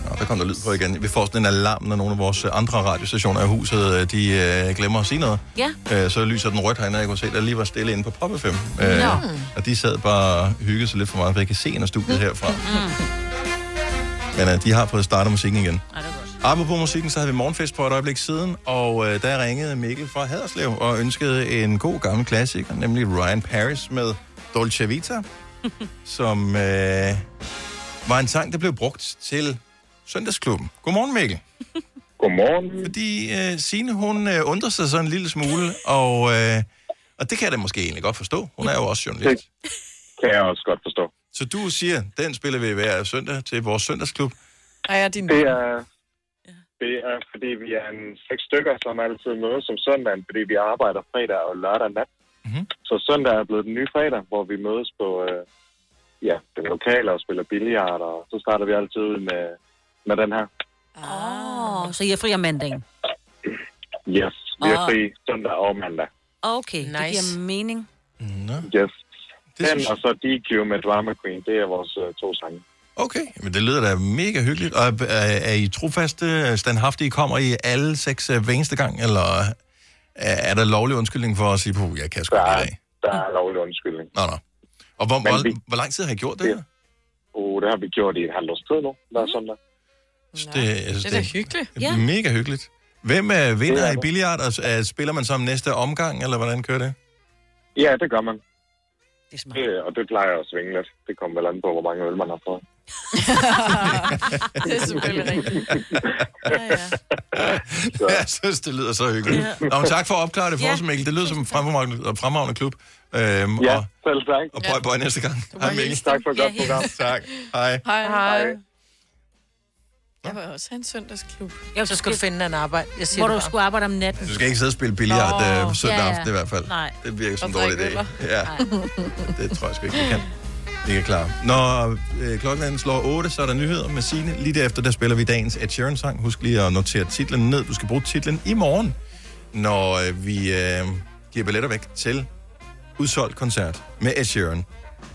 Nå, der kom der lyd på igen. Vi får sådan en alarm, når nogle af vores øh, andre radiostationer i huset, øh, de øh, glemmer at sige noget. Ja. Øh, så lyser den rødt herinde, og jeg kunne se, der lige var stille inde på Pop 5. Øh, Nå. Og de sad bare og hyggede sig lidt for meget, for jeg kan se en af studiet herfra. Men øh, de har fået startet musikken igen. Apropos musikken, så havde vi morgenfest på et øjeblik siden, og øh, der ringede Mikkel fra Haderslev og ønskede en god gammel klassiker, nemlig Ryan Paris med Dolce Vita, som øh, var en sang, der blev brugt til Søndagsklubben. Godmorgen, Mikkel. Godmorgen. Fordi øh, Signe, hun øh, undrer sig sådan en lille smule, og, øh, og det kan jeg da måske egentlig godt forstå. Hun er jo også journalist. Det kan jeg også godt forstå. Så du siger, den spiller vi hver søndag til vores søndagsklub. Ej, er din... Det er, det er, fordi vi er en seks stykker, som altid mødes om søndagen, fordi vi arbejder fredag og lørdag nat. Mm-hmm. Så søndag er blevet den nye fredag, hvor vi mødes på øh, ja, den lokale og spiller billiard, og så starter vi altid ud med, med den her. Åh, oh, så I er fri om mandagen. Yes, vi er Ah. Og- fri søndag og mandag. Okay, nice. det giver mening. Yes. Den og så DQ med Drama Queen, det er vores øh, to sange. Okay, men det lyder da mega hyggeligt. Og er, er I trofaste, øh, standhaftige, kommer I alle seks øh, hver eneste gang, eller er, er der lovlig undskyldning for at sige, på, jeg kan sgu ikke i dag? Der er lovlig undskyldning. Nå, nå. Og hvor, Men hvor, vi- hvor lang tid har I gjort det her? Og det har vi gjort i et halvt års tid nu, hver søndag. Så Det, jeg synes, Det er da hyggeligt. det er mega hyggeligt. Hvem øh, vinder Det er i det. billiard, og øh, spiller man sammen næste omgang, eller hvordan kører det? Ja, det gør man. Det er det, og det plejer at svinge lidt. Det kommer vel an på, hvor mange øl man har fået. det er selvfølgelig rigtigt. Jeg synes, det lyder så hyggeligt. Ja. Nå, men tak for at opklare det for Ja. os, Mikkel. Det lyder som en fremragende, fremragende klub. Øhm, Ja, og, selv tak. og bøj, bøj næste gang. Hej, Mikkel. Tak for et godt Ja, hils. program. Tak. Hej. Hej. Hej. Jeg var også have en søndagsklub. Jo, så skal du finde en arbejde. Jeg siger Hvor det du bare. skulle arbejde om natten. Du skal ikke sidde og spille billiard Nå. øh, på søndag Ja, ja. aften i hvert fald. Nej. Det virker som en Og dårlig drikke idé. Ja. Det tror jeg sgu ikke, vi kan. Det kan klare. Når øh, klokken er slår 8, så er der nyheder med Signe. Lige derefter, der spiller vi dagens Ed Sheeran-sang. Husk lige at notere titlen ned. Du skal bruge titlen i morgen, når øh, vi øh, giver billetter væk til udsolgt koncert med Ed Sheeran.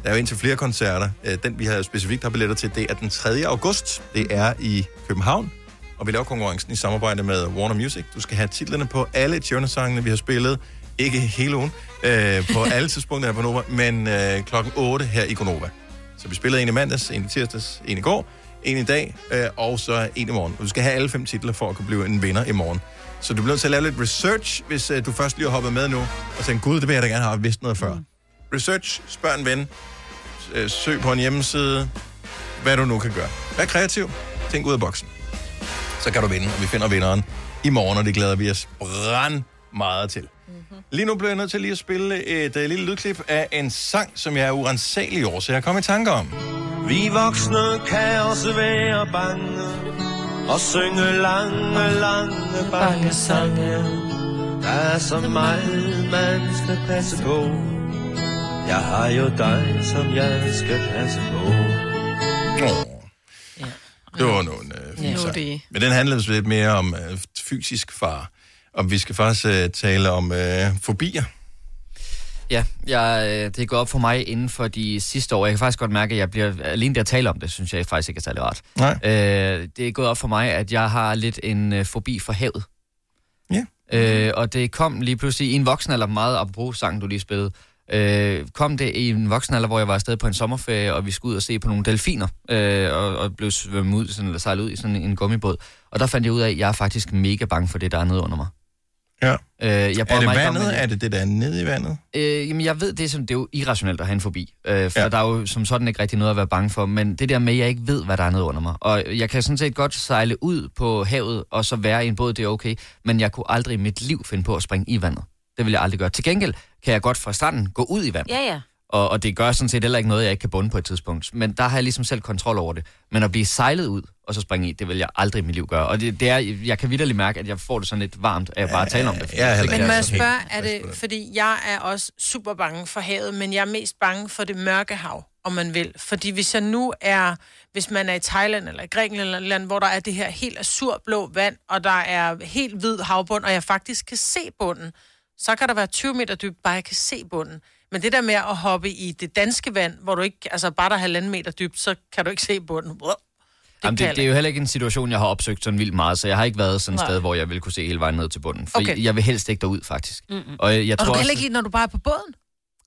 Der er jo indtil flere koncerter. Øh, Den, vi havde specifikt har billetter til, det er den 3. august. Det er i København. Og vi laver konkurrencen i samarbejde med Warner Music. Du skal have titlerne på alle Ed Sheeran-sangene, vi har spillet. Ikke hele ugen. Øh, på alle tidspunkter her på Nova. Men øh, klokken 8 her i Gonova. Så vi spillede en i mandags, en i tirsdags, en i går, en i dag, øh, og så en i morgen. Og du skal have alle fem titler for at kunne blive en vinder i morgen. Så du bliver nødt til at lave lidt research, hvis øh, du først lige har hoppet med nu, og tænker, gud, det vil jeg da gerne have vidst noget før. Mm. Research, spørg en ven, s- øh, søg på en hjemmeside, hvad du nu kan gøre. Vær kreativ, tænk ud af boksen. Så kan du vinde, og vi finder vinderen i morgen, og det glæder vi os brand meget til. Lige nu bliver jeg nødt til lige at spille et uh, lille lydklip af en sang, som jeg er urensagelig over, så jeg kom i tanke om. Vi voksne kan også være bange og synge lange, lange, bange sange. Der er så meget, man skal passe på. Jeg har jo dig, som jeg skal passe på. Det var nogle øh, fine Ja. sang. Det. Men den handler altså lidt mere om øh, fysisk far. Og vi skal faktisk øh, tale om øh, fobier. Ja, jeg, øh, det går op for mig inden for de sidste år. Jeg kan faktisk godt mærke, at jeg bliver alene der at tale om det, synes jeg faktisk ikke er særlig rart. Nej. Øh, det er gået op for mig, at jeg har lidt en øh, fobi for havet. Ja. Øh, og det kom lige pludselig i en voksen alder, meget apropos sangen, du lige spillede. Øh, kom det i en voksen alder, hvor jeg var afsted på en sommerferie, og vi skulle ud og se på nogle delfiner, øh, og, og blev svømmet ud, sådan, eller sejlet ud i sådan en gummibåd. Og der fandt jeg ud af, at jeg er faktisk mega bange for det, der er nede under mig. Ja. Øh, jeg er bryder det mig ikke om, vandet? at- Er det det, der er nede i vandet? Øh, jamen, jeg ved, det er, som, det er jo irrationelt at have en fobi. Øh, for ja. der er jo som sådan ikke rigtig noget at være bange for. Men det der med, at jeg ikke ved, hvad der er nede under mig. Og jeg kan sådan set godt sejle ud på havet, og så være i en båd, det er okay. Men jeg kunne aldrig i mit liv finde på at springe i vandet. Det vil jeg aldrig gøre. Til gengæld kan jeg godt fra stranden gå ud i vandet. Ja, ja. Og, og det gør sådan set heller ikke noget, jeg ikke kan bunde på et tidspunkt. Men der har jeg ligesom selv kontrol over det. Men at blive sejlet ud og så springe i, det vil jeg aldrig i mit liv gøre. Og det, det er, jeg kan vidderligt mærke, at jeg får det sådan lidt varmt af at bare tale om det. Ja, ja, Men Altså, må jeg spørge, er det, fordi jeg er også super bange for havet, men jeg er mest bange for det mørke hav, om man vil. Fordi hvis jeg nu er, hvis man er i Thailand eller i Grækenland eller et land, hvor der er det her helt azurblå vand, og der er helt hvid havbund, og jeg faktisk kan se bunden, så kan der være 20 meter dybt, bare jeg kan se bunden. Men det der med at hoppe i det danske vand, hvor du ikke, altså bare der er halvanden meter dybt, så kan du ikke se bunden. Wow. Det, Jamen, kan det, det er jo heller ikke en situation, jeg har opsøgt sådan vildt meget, så jeg har ikke været sådan et Nej. sted, hvor jeg ville kunne se hele vejen ned til bunden. For Okay. okay. jeg vil helst ikke derud, faktisk. Mm-mm. Og jeg, jeg og du tror kan også, heller ikke lide, når du bare er på båden.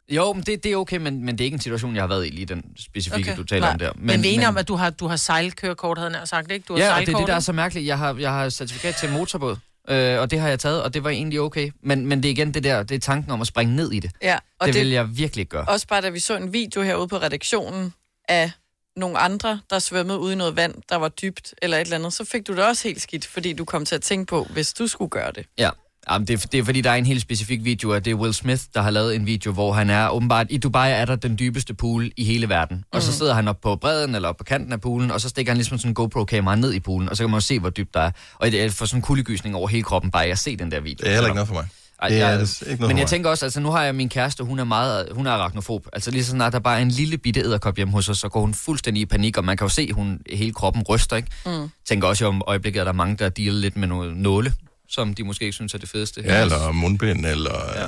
Jo, men det, det er okay, men, men det er ikke en situation, jeg har været i lige den specifikke, okay. du taler Nej. om der. Men, men vi er enige om, at du har, du har sejlkørekort, havde jeg nær sagt, ikke? Du har ja, og det er sejlkortet. det, der er så mærkeligt. Jeg har, jeg har certifikat til en motorbåd, øh, og det har jeg taget, og det var egentlig okay. Men, men det er igen det der, det er tanken om at springe ned i det. Ja, og det, det- vil jeg virkelig ikke gøre. Også bare da vi så en video herude på redaktionen af nogle andre, der svømmede ude i noget vand, der var dybt eller et eller andet, så fik du det også helt skidt, fordi du kom til at tænke på, hvis du skulle gøre det. Ja. Jamen, det, er, det er fordi, der er en helt specifik video, og det er Will Smith, der har lavet en video, hvor han er åbenbart, i Dubai er der den dybeste pool i hele verden. Og så sidder han op på bredden eller op på kanten af poolen, og så stikker han ligesom sådan en GoPro-kamera ned i poolen, og så kan man jo se, hvor dybt der er. Og jeg får sådan en kuldegysning over hele kroppen, bare jeg ser den der video. Det er heller ikke noget for mig. Ej, Det er jeg, altså ikke noget for men mig. jeg tænker også, altså nu har jeg min kæreste, hun er meget, hun er arachnofob. Altså lige så snart der bare er en lille bitte æderkop hjemme hos os, så går hun fuldstændig i panik, og man kan jo se, hun hele kroppen ryster, ikke? Mm. tænker også, at om øjeblikket er der mange, der dealer lidt med nogle nåle, som de måske ikke synes er det fedeste. Ja, eller mundbind, eller... Ja.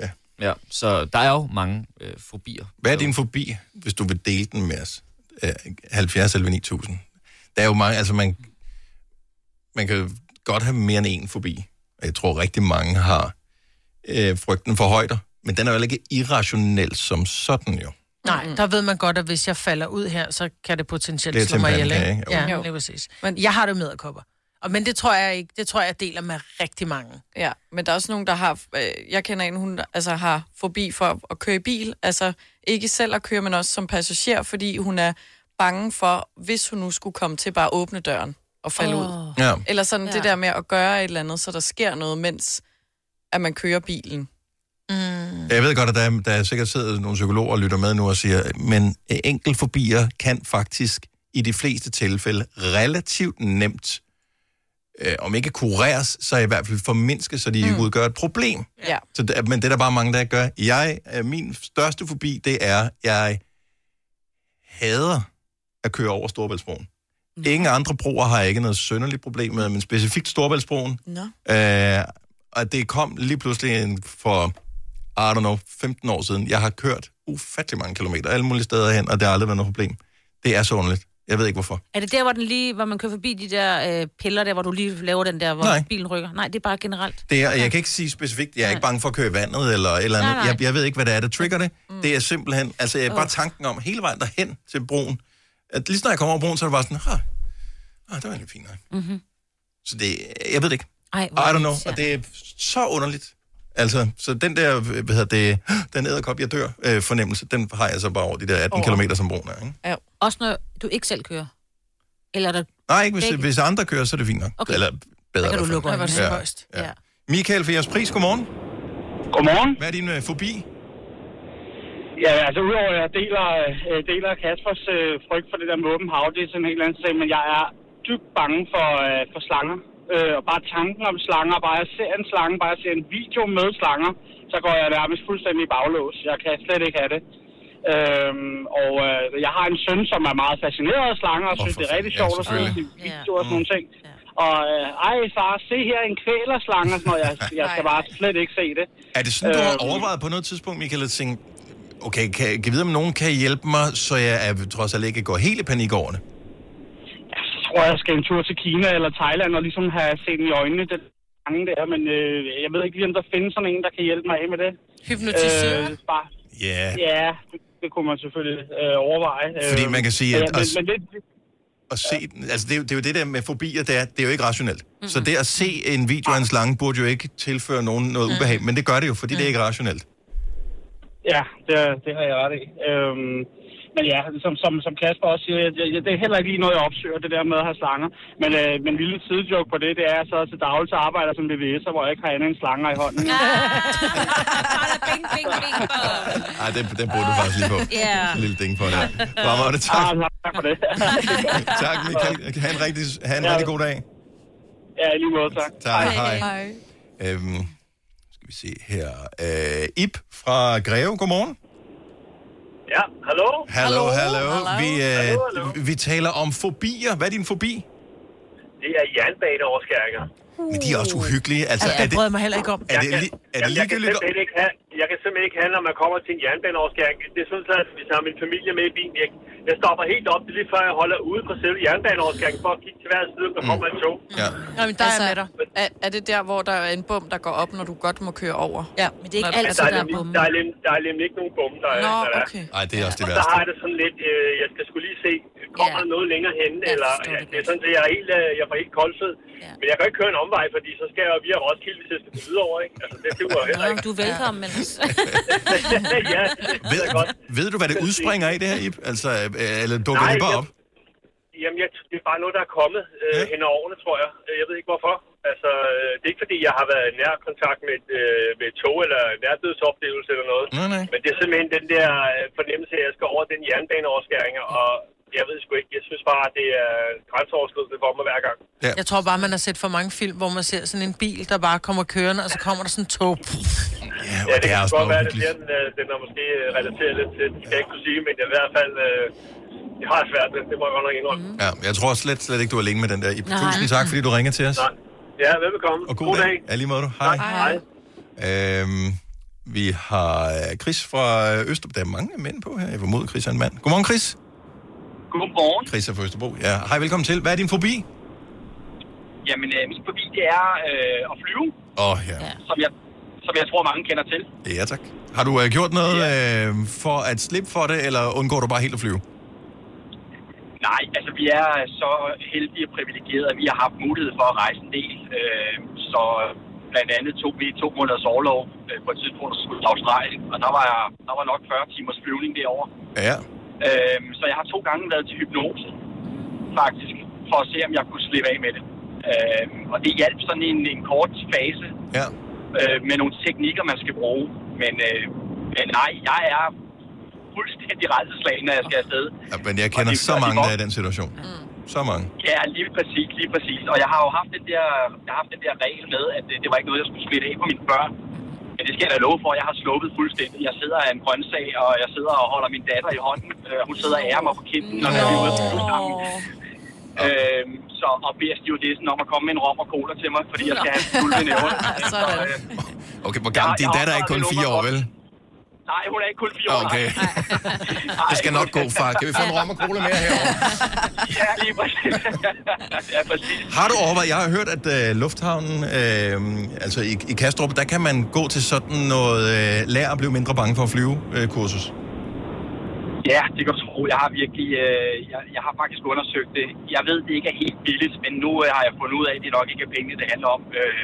ja. ja så der er jo mange øh, fobier. Hvad er din fobi, hvis du vil dele den med os? Øh, 70 eller 9000. Der er jo mange, altså man, man kan jo godt have mere end en fobi. Og jeg tror rigtig mange har øh, frygten for højder. Men den er jo heller ikke irrationel som sådan jo. Nej, der ved man godt, at hvis jeg falder ud her, så kan det Det potentielt er slå mig til en ihjel, pandekage, ikke? jo. Ja, Jo. lige præcis. Men jeg har det med kopper. Og, men det tror jeg ikke, det tror jeg deler med rigtig mange. Ja, men der er også nogen, der har... Øh, jeg kender en, hun altså, har forbi for at køre i bil. Altså ikke selv at køre, men også som passager, fordi hun er bange for, hvis hun nu skulle komme til bare at åbne døren og falde oh. ud. Ja. Eller sådan ja. Ja. det der med at gøre et eller andet, så der sker noget, mens at man kører bilen. Jeg ved godt, at der, er- der er sikkert sidder nogle psykologer og lytter med nu og siger, men øh, enkeltfobier kan faktisk i de fleste tilfælde relativt nemt, øh, om ikke kureres, så i hvert fald formindskes, så de ikke udgør et problem. Ja. Så det, er- men det er der bare mange, der gør. Jeg, øh, min største fobi, det er, jeg hader at køre over Storebæltsbroen. Ingen andre broer har jeg ikke noget sønderligt problem med, men specifikt Storebæltsbroen. Nå. Øh, og det kom lige pludselig en- for I don't know, 15 år siden. Jeg har kørt ufattelig mange kilometer alle mulige steder hen, og det har aldrig været noget problem. Det er så underligt. Jeg ved ikke hvorfor. Er det der, hvor, den lige, hvor man kører forbi de der øh, piller, der hvor du lige laver den der, hvor Nej. nej. bilen rykker? Nej, det er bare generelt. Det er, jeg kan ikke sige specifikt, jeg er ikke bange for at køre i vandet eller et eller andet. Nej, nej. Jeg, jeg ved ikke, hvad det er, der trigger det. Mm. Det er simpelthen, altså jeg, bare tanken om hele vejen derhen til broen. At lige snart jeg kommer over broen, så er det bare sådan, "Huh, ah, det var egentlig fint nok. Mm-hmm. Så det, jeg ved det ikke. Ej, I don't know, og det er så underligt. Altså, så den der, hvad hedder det, "Huh, den æderkop, jeg dør øh, fornemmelse, den har jeg så bare over de der 18 Over. km, som broen er. Ikke? Ja. Også når du ikke selv kører? Eller er der... Nej, ikke hvis, Begge. hvis andre kører, så er det fint nok. Okay. Eller bedre. kan du i hvert fald. lukke øjnene. Ej, hvor er det spøjst. ja. ja. Michael for jeres pris, godmorgen. Godmorgen. Hvad er din øh, fobi? Ja, altså udover at jeg deler, øh, deler Kaspers øh, frygt for det der med åben hav, det er sådan en helt anden sag, men jeg er dybt bange for, øh, for slanger. Øh, og bare tanken om slanger, bare jeg ser en slange, bare jeg ser en video med slanger, så går jeg nærmest fuldstændig i baglås. Jeg kan slet ikke have det. Øhm, og øh, jeg har en søn, som er meget fascineret af slanger, og synes, det er rigtig sjovt at se de videoer og sådan nogle ting. Og øh, ej far, se her en kvælerslange, og sådan noget. Jeg, jeg skal bare slet ikke se det. Er det sådan, du har Øhm, overvejet på noget tidspunkt, Michael, at tænke, okay, kan, kan jeg vide, om nogen kan hjælpe mig, så jeg er, trods alt ikke går helt i panik over det? Jeg tror, jeg skal en tur til Kina eller Thailand og ligesom have set den i øjnene, den fange der, men øh, jeg ved ikke lige, om der findes sådan en, der kan hjælpe mig af med det. Hypnotisør? Øh, bare, Ja. ja, det, det kunne man selvfølgelig øh, overveje. Fordi man kan sige, at- Ja, men, men det, At se, den- altså det, er jo- det er jo det der med fobier, det er, det er jo ikke rationelt. Mm-hmm. Så det at se en video af en slange, burde jo ikke tilføre nogen Mm. noget ubehag, men det gør det jo, fordi det er ikke rationelt. ja det, det har jeg ret i. Øhm, men ja, som, som, som Kasper også siger, jeg, jeg, det er heller ikke lige noget, jeg opsøger, det der med at have slanger. Men, øh, men en lille sidejoke på det, det er, at jeg så til daglig så arbejder som VVS'er, hvor jeg ikke har andet end slanger i hånden. Bing, bing, bing. Ej, den, den burde du faktisk lige på. Ja. En lille ding på der. Hvor var det? Tak. Ah, tak for det. tak, Michael. Ha' en rigtig, ha en Ja. rigtig god dag. Ja, i lige måde, tak. Tak, hej. Øhm, skal vi se her. Øh, Ip fra Greve, godmorgen. Ja, hallo? Hallo, hallo. Vi, øh, Hallo, hallo. vi taler om fobier. Hvad er din fobi? Det er jernbaneoverskæringer. Men de er også uhyggelige. Altså, Ja, er det det, brød mig heller ikke om. Er Uh. Jeg det, kan- li, er Jamen, det jeg, kan ligegyldigt? simpelthen ikke have, jeg kan simpelthen ikke handle, når man kommer til en jernbaneoverskæring. Det synes jeg, at hvis jeg har min familie med i bilen, jeg, jeg stopper helt op, det er lige før jeg holder ude på selve jernbaneoverskæringen, for at kigge til hver side, om der kommer et tog. Ja. Nå, men der altså, er, er, er det der, hvor der er en bum, der går op, når du godt må køre over? Ja, men det er Men der, er nemlig, der, er nemlig, der er nemlig ikke nogen bum, der er. Nå, der er. okay. Ej, det er også det Og så værste. har jeg det sådan lidt, øh, jeg skal skulle lige se, kommer der noget længere hen, eller ja, det er sådan, at jeg er helt, øh, jeg får helt koldfed. Men jeg kan ikke køre en omvej, fordi så skal jeg jo via Roskilde, hvis jeg skal til Hvidovre, ikke? Altså, det duer jo heller ikke. Du er velkommen, ellers. ja, Ved, ved du, hvad det udspringer af, det her, Ip? Altså, øh, eller dukker Nej, det bare jeg- op? Jamen, jeg, det er bare noget, der er kommet øh, hen over årene, tror jeg. Øh, Jeg ved ikke hvorfor. Altså, øh, det er ikke fordi, jeg har været i nær kontakt med, et, øh, med et tog eller en nærdødsoplevelse eller noget. Nej, nej. Men det er simpelthen den der øh, fornemmelse, at jeg skal over den jernbaneoverskæring, og jeg ved sgu ikke, jeg synes bare, det er grænseoverskridende for mig hver gang. Ja. Jeg tror bare, man har set for mange film, hvor man ser sådan en bil, der bare kommer kørende, og så kommer der sådan en tog. Ja, det, er kan også godt bare være, det er den, øh, den er måske øh, relateret lidt til, det skal jeg ikke kunne sige, men jeg i hvert fald, øh, jeg har svært ved, det, det må jeg godt nok indrømme. Ja, jeg tror slet, slet ikke, du er alene med den der, Ip. Nej. Tusind tak, fordi du ringer til os. Ja, velbekomme. Og god, god dag. Ja, lige måde du. Hej. Hej. Øhm, vi har øh, Chris fra øh, Østerbro. Der er mange mænd på her. Jeg formoder, Chris er en mand. Godmorgen, Chris. Godmorgen. Chris er fra Østerbro. Ja, hej, velkommen til. Hvad er din fobi? Jamen, øh, min fobi, det er øh, at flyve, Åh, oh, ja. som jeg, som jeg tror, mange kender til. ja. Ja, tak. Har du øh, gjort noget øh, for at slippe for det, eller undgår du bare helt at flyve? Nej, altså vi er så heldige og privilegerede, at vi har haft mulighed for at rejse en del. Øh, så blandt andet tog vi to måneders overlov øh, på et tidspunkt, der skulle til Australien, og der var, jeg, der var nok 40 timers flyvning derovre. Ja. Øh, så jeg har to gange været til hypnose, faktisk, for at se, om jeg kunne slippe af med det. Øh, og det hjalp sådan en, en kort fase Ja. øh, med nogle teknikker, man skal bruge. Men, øh, men nej, jeg er fuldstændig redselslagen, når jeg skal afsted. ja men jeg kender så mange, der er i den situation. Så mange. Ja, lige præcis, lige præcis. Og jeg har jo haft den der, jeg har haft den der regel med, at det, det var ikke noget, jeg skulle smitte af på mine børn. Men det skal jeg da love for, jeg har sluppet fuldstændig. Jeg sidder af en grøntsag, og jeg sidder og holder min datter i hånden. Øh, hun sidder og ærer mig på kinden, når vi er ude at flyve sammen. Øhm, så, Øh, og beder Stewardess'en om at komme med en rom og cola til mig, fordi jeg skal have en fulde næver. Okay, hvor gammel? Jeg Din har datter er ikke kun opdraget fire min år, vel? Nej, hun er ikke kun fire år. Okay. Det skal nok gå, far. Kan vi få en rom og cola mere herovre? Ja, lige præcis. ja, præcis. Har du overvejet, jeg har hørt, at øh, lufthavnen, øh, altså i, i Kastrup, der kan man gå til sådan noget, øh, lær at blive mindre bange for at flyve øh, kursus. Ja, det kan du tro. Jeg har virkelig, øh, jeg, jeg har faktisk undersøgt det. Jeg ved, det ikke er helt billigt, men nu øh, har jeg fundet ud af, at det nok ikke er penge, det handler om. Øh,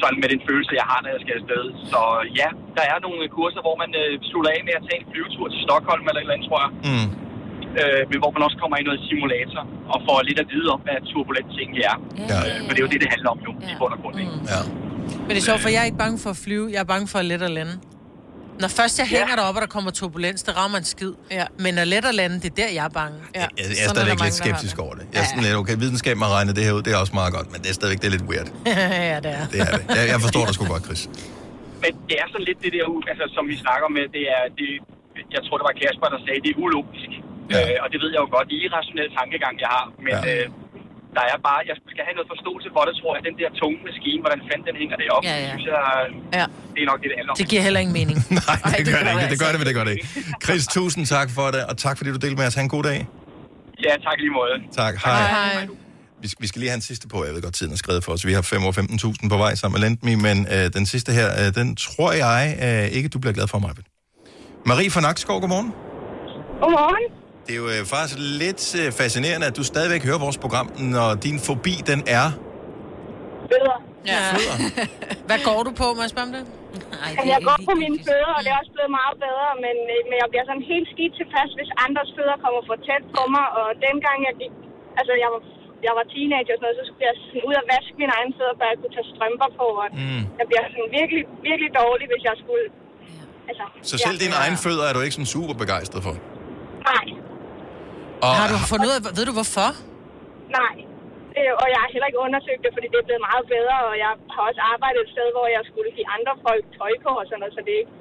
sådan med den følelse, jeg har, når jeg skal afsted. Så ja, der er nogle øh, kurser, hvor man øh, slutter af med at tage en flyvetur til Stockholm eller et eller andet, tror jeg. Mm. Øh, men hvor man også kommer i noget simulator og får lidt at vide om, hvad turbulent ting er. Ja. Øh, for det er jo det, det handler om nu, i bund og grund. Ikke? Ja. Men det er sjovt, for jeg er ikke bange for at flyve. Jeg er bange for at let at lande. Når først jeg hænger deroppe, og der kommer turbulens, det rammer en skid. Ja. Men at let at lande, det er der, jeg er bange. Ja. Jeg, jeg er stadigvæk lidt skeptisk over det. Jeg er sådan lidt, okay, videnskab har regnet det her ud, det er også meget godt, men det er stadigvæk det er lidt weird. ja, det er. Det er det. Jeg, jeg forstår dig sgu godt, Chris. Men det er sådan lidt det der, altså, som vi snakker med, det er, det, jeg tror, det var Kasper, der sagde, det er ulogisk. Ja. Øh, og det ved jeg jo godt, det er irrationel tankegang, jeg har, men ja. øh, der er bare, jeg skal have noget forståelse for det, tror jeg, den der tunge maskine, hvordan fanden den hænger det op, Ja, ja, ja. ja. synes jeg, Ja. det er nok det, det handler om. Det giver heller ingen mening. Nej, det gør det altså ikke. Det gør det, men det gør det ikke. Chris, tusind tak for det, og tak fordi du delte med os. Ha' en god dag. Ja, tak i lige måde. Tak. Hej. Vi skal, vi skal lige have en sidste på. Jeg ved godt, tiden er skrevet for os. Vi har 5 år 15.000 på vej sammen med Lendme, men øh, den sidste her, øh, den tror jeg øh, ikke, du bliver glad for, Marvind. Marie fra Nakskov, godmorgen. Godmorgen. Det er jo øh, faktisk lidt øh, fascinerende, at du stadigvæk hører vores program, når din fobi, den er... Bedre. Ja. Hvad går du på, må jeg spørge om det? Nej, Jamen, Altså, jeg går på mine fødder, og det er også blevet meget bedre, men, øh, men jeg bliver sådan helt skidt tilfreds, hvis andres fødder kommer for tæt på mig, og dengang jeg gik, altså jeg var, jeg var teenager og sådan noget, så skulle jeg sådan ud og vaske mine egne fødder, før jeg kunne tage strømper på, og Mm. jeg bliver sådan virkelig, virkelig dårlig, hvis jeg skulle, altså... Så selv ja. dine egne fødder er du ikke sådan super begejstret for. Nej, Og, Har du fundet ud af, ved du hvorfor? nej. Øh, og jeg har heller ikke undersøgt det, fordi det er blevet meget bedre, og jeg har også arbejdet et sted, hvor jeg skulle give andre folk tøj på og sådan noget, så det er ikke...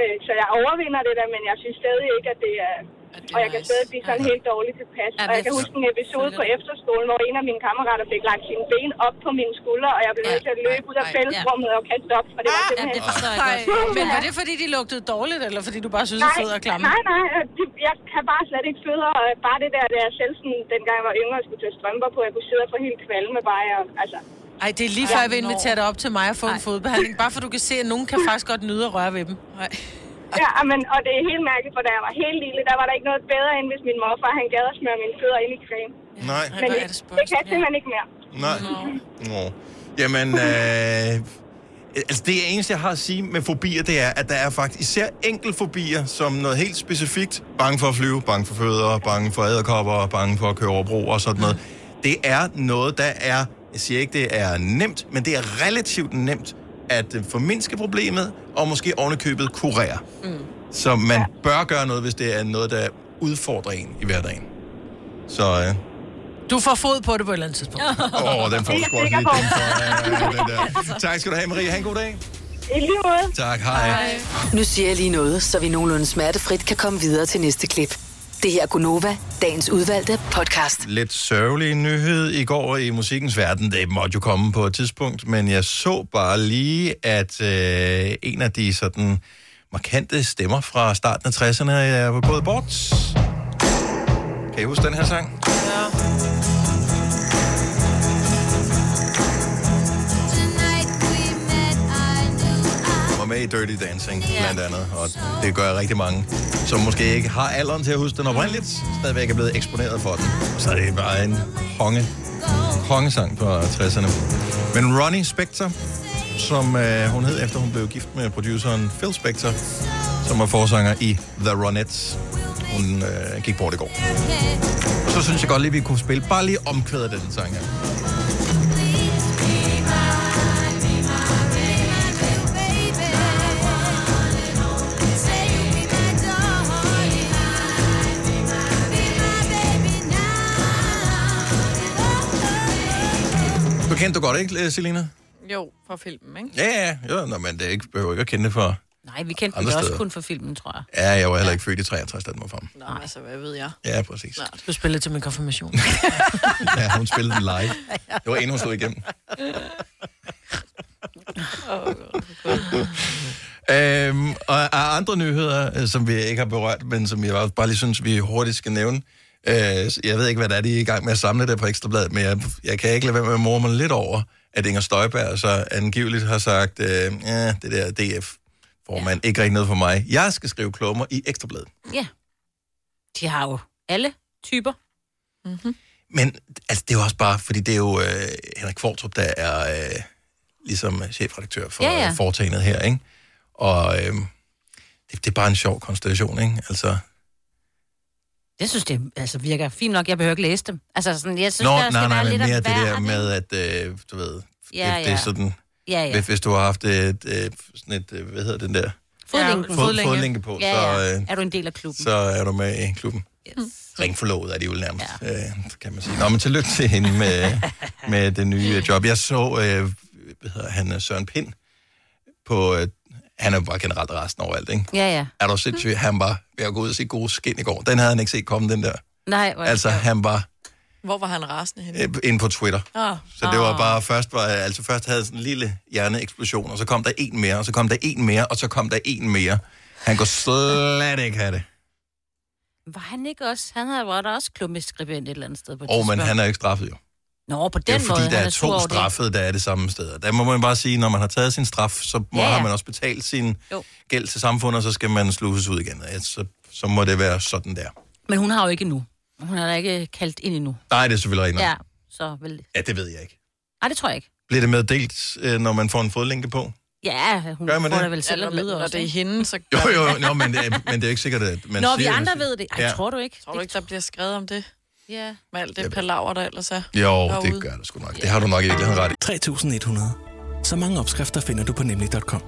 øh, Så jeg overvinder det der, men jeg synes stadig ikke, at det er... Og jeg kan stadig blive sådan helt dårligt Ja, tilpas. Og jeg men kan jeg huske en episode på efterskolen, hvor en af mine kammerater fik lagt sine ben op på mine skuldre, og jeg blev nødt til at løbe ud af fællesrummet og kaste op, for det var simpelthen... Ej, Men var det, fordi de lugtede dårligt, eller fordi du bare synes, at fødder er klamme? Nej, nej, øh, det, jeg kan bare slet ikke fødder. og øh, Bare det der, da jeg selv sådan, dengang jeg var yngre, og skulle tage strømper på, jeg kunne sidde og få helt kvalme bare, og, altså... Ej, det er lige før, jeg vil invitere dig op til mig og få en fodbehandling. Bare for du kan se, at nogen kan faktisk godt nyde at røre ved dem. Nej. Ja, ah, men, og det er helt mærkeligt, for da jeg var helt lille, der var der ikke noget bedre, end hvis min morfar, han gad at smøre mine fødder ind i creme. Nej. Men det, det kan jeg simpelthen ikke mere. Nej. Nå. Jamen, øh, altså det eneste, jeg har at sige med fobier, det er, at der er faktisk især enkel fobier, som noget helt specifikt, bange for at flyve, bange for fødder, bange for æderkopper, bange for at køre over broer og sådan noget. Det er noget, der er, jeg siger ikke, det er nemt, men det er relativt nemt at øh, formindske problemet, og måske ovenikøbet kurere. Mm. Så man bør gøre noget, hvis det er noget, der udfordrer en i hverdagen. Så øh, Du får fod på det på et eller andet tidspunkt. Åh, den får du sgu også lige penge for. Ja, den der. Tak skal du have, Marie. Ha' en god dag. I lige måde. Tak, hej. hej. Nu siger jeg lige noget, så vi nogenlunde smertefrit kan komme videre til næste klip. Det her er Gunova, dagens udvalgte podcast. Lidt sørgelig nyhed i går i musikkens verden. Det måtte jo komme på et tidspunkt, men jeg så bare lige, at øh, en af de sådan markante stemmer fra starten af 60'erne er gået bort. Kan I huske den her sang? Hun var med i Dirty Dancing, blandt andet, og det gør rigtig mange, som måske ikke har alderen til at huske den oprindeligt, stadigvæk er blevet eksponeret for den. Og så er det bare en konge, kongesang på 60'erne. Men Ronnie Spector, som øh, hun hed, efter hun blev gift med produceren Phil Spector, som var forsanger i The Ronettes. Hun øh, gik bort i går. Og så synes jeg godt lige, vi kunne spille bare lige omkvædet den sang her. Du kendte du godt, ikke, Selina? Jo, fra filmen, ikke? Ja, ja, ja. Jo, Nå, men det er ikke, behøver ikke at kende det for... Nej, vi kendte den Andre da også steder. kun for filmen, tror jeg. Ja, jeg var heller ikke født i 63, da den var frem. Nå, altså, hvad ved jeg? Ja, præcis. Du spillede til min konfirmation. Ja, hun spillede den live. Det var inden hun stod igennem. Øhm, og er andre nyheder, øh, som vi ikke har berørt, men som jeg bare lige synes, vi hurtigt skal nævne. Øh, jeg ved ikke, hvad det er, de er i gang med at samle det på Ekstrabladet, men jeg, jeg kan ikke lade være med at morme lidt over, at Inger Støjberg så angiveligt har sagt, øh, ja, det der DF-formand, ja. ikke rigtig noget for mig. Jeg skal skrive klummer i Ekstrabladet. Ja. De har jo alle typer. Mm-hmm. Men altså, det er jo også bare, fordi det er jo øh, Henrik Kvartrup, der er øh, ligesom chefredaktør for Ja, ja, ja. ja. foretagendet her, ikke? Og øh, det, det er bare en sjov konstellation, ikke? Altså, Jeg synes, det altså, virker fint nok. Jeg behøver ikke læse dem. Altså, sådan, jeg synes, Nå, der skal nej, nej, være men lidt mere om det hver der af med, at øh, du ved, Ja, ja, det, det ja. er sådan, Ja, ja. Hvis, hvis du har haft et, øh, sådan et, øh, hvad hedder den der? Fodlænken. Fod, fodlænke på, ja, ja. så, øh, er du en del af klubben. så er du med i klubben. Yes. Ringforlovet er de jo nærmest, ja. øh, kan man sige. Nå, men tillykke til hende med, med det nye øh, job. Jeg så, øh, hvad hedder han, øh, Søren Pind på, øh, han er jo bare generelt resten overalt, ikke? Ja, ja. Er du sindssyg? Han var ved at gå ud og se gode skin i går. Den havde han ikke set komme, den der. Nej, hvor er det Altså, han var Hvor var han rasende henne? øh, inde på Twitter. Oh. Så det var bare først, var, altså først havde sådan en lille hjerneeksplosion, og så kom der en mere, og så kom der en mere, og så kom der en mere. Han kunne slet ikke have det. Var han ikke også... Han havde, var der også klubbeskribent et eller andet sted på et Og men tidspunkt. han er jo ikke straffet jo. Nå, på den Det er måde, jo fordi, der han er sur over to det. straffede, der er det samme sted. Og Der må man bare sige, når man har taget sin straf, så må, Ja, ja, ja. ja. har man også betalt sin Jo. jo. gæld til samfundet, og så skal man sluses ud igen. Ja, Så, så må det være sådan der. Men hun har jo ikke endnu. Hun har da ikke kaldt ind endnu. Nej, det er selvfølgelig rigtigt. Ja, Ja. så vel... ja, det ved jeg ikke. Ej, det tror jeg ikke. Bliver det meddelt, øh, når man får en fodlænke på? Ja, hun Gør får man det det? vel selv Ja, at når- vide når også. det er hende, så... Jo, jo, jo nå, men, det er, men det er jo ikke sikkert, at man Nå, siger vi det. andre ved det. Ej, Ja. tror du ikke? Tror du ikke, der bliver skrevet om det? Ja. Med alt det palaver, der ellers er Jo, derude? det gør det sgu nok. Det har du nok i virkeligheden ret i. 3.100. Så mange opskrifter finder du på nemlig.com.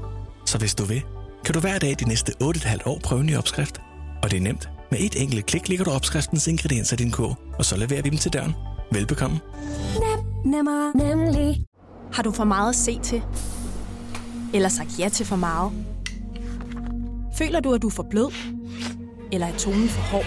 Så hvis du vil, kan du hver dag de næste 8,5 år prøve en ny opskrift. Og det er nemt. Med et enkelt klik ligger du opskriftens ingredienser i din kog, og så leverer vi dem til døren. Velbekomme. Nem, nemmer, nemlig. Har du for meget at se til? Eller sagt ja til for meget? Føler du, at du er for blød? Eller er tonen for hård?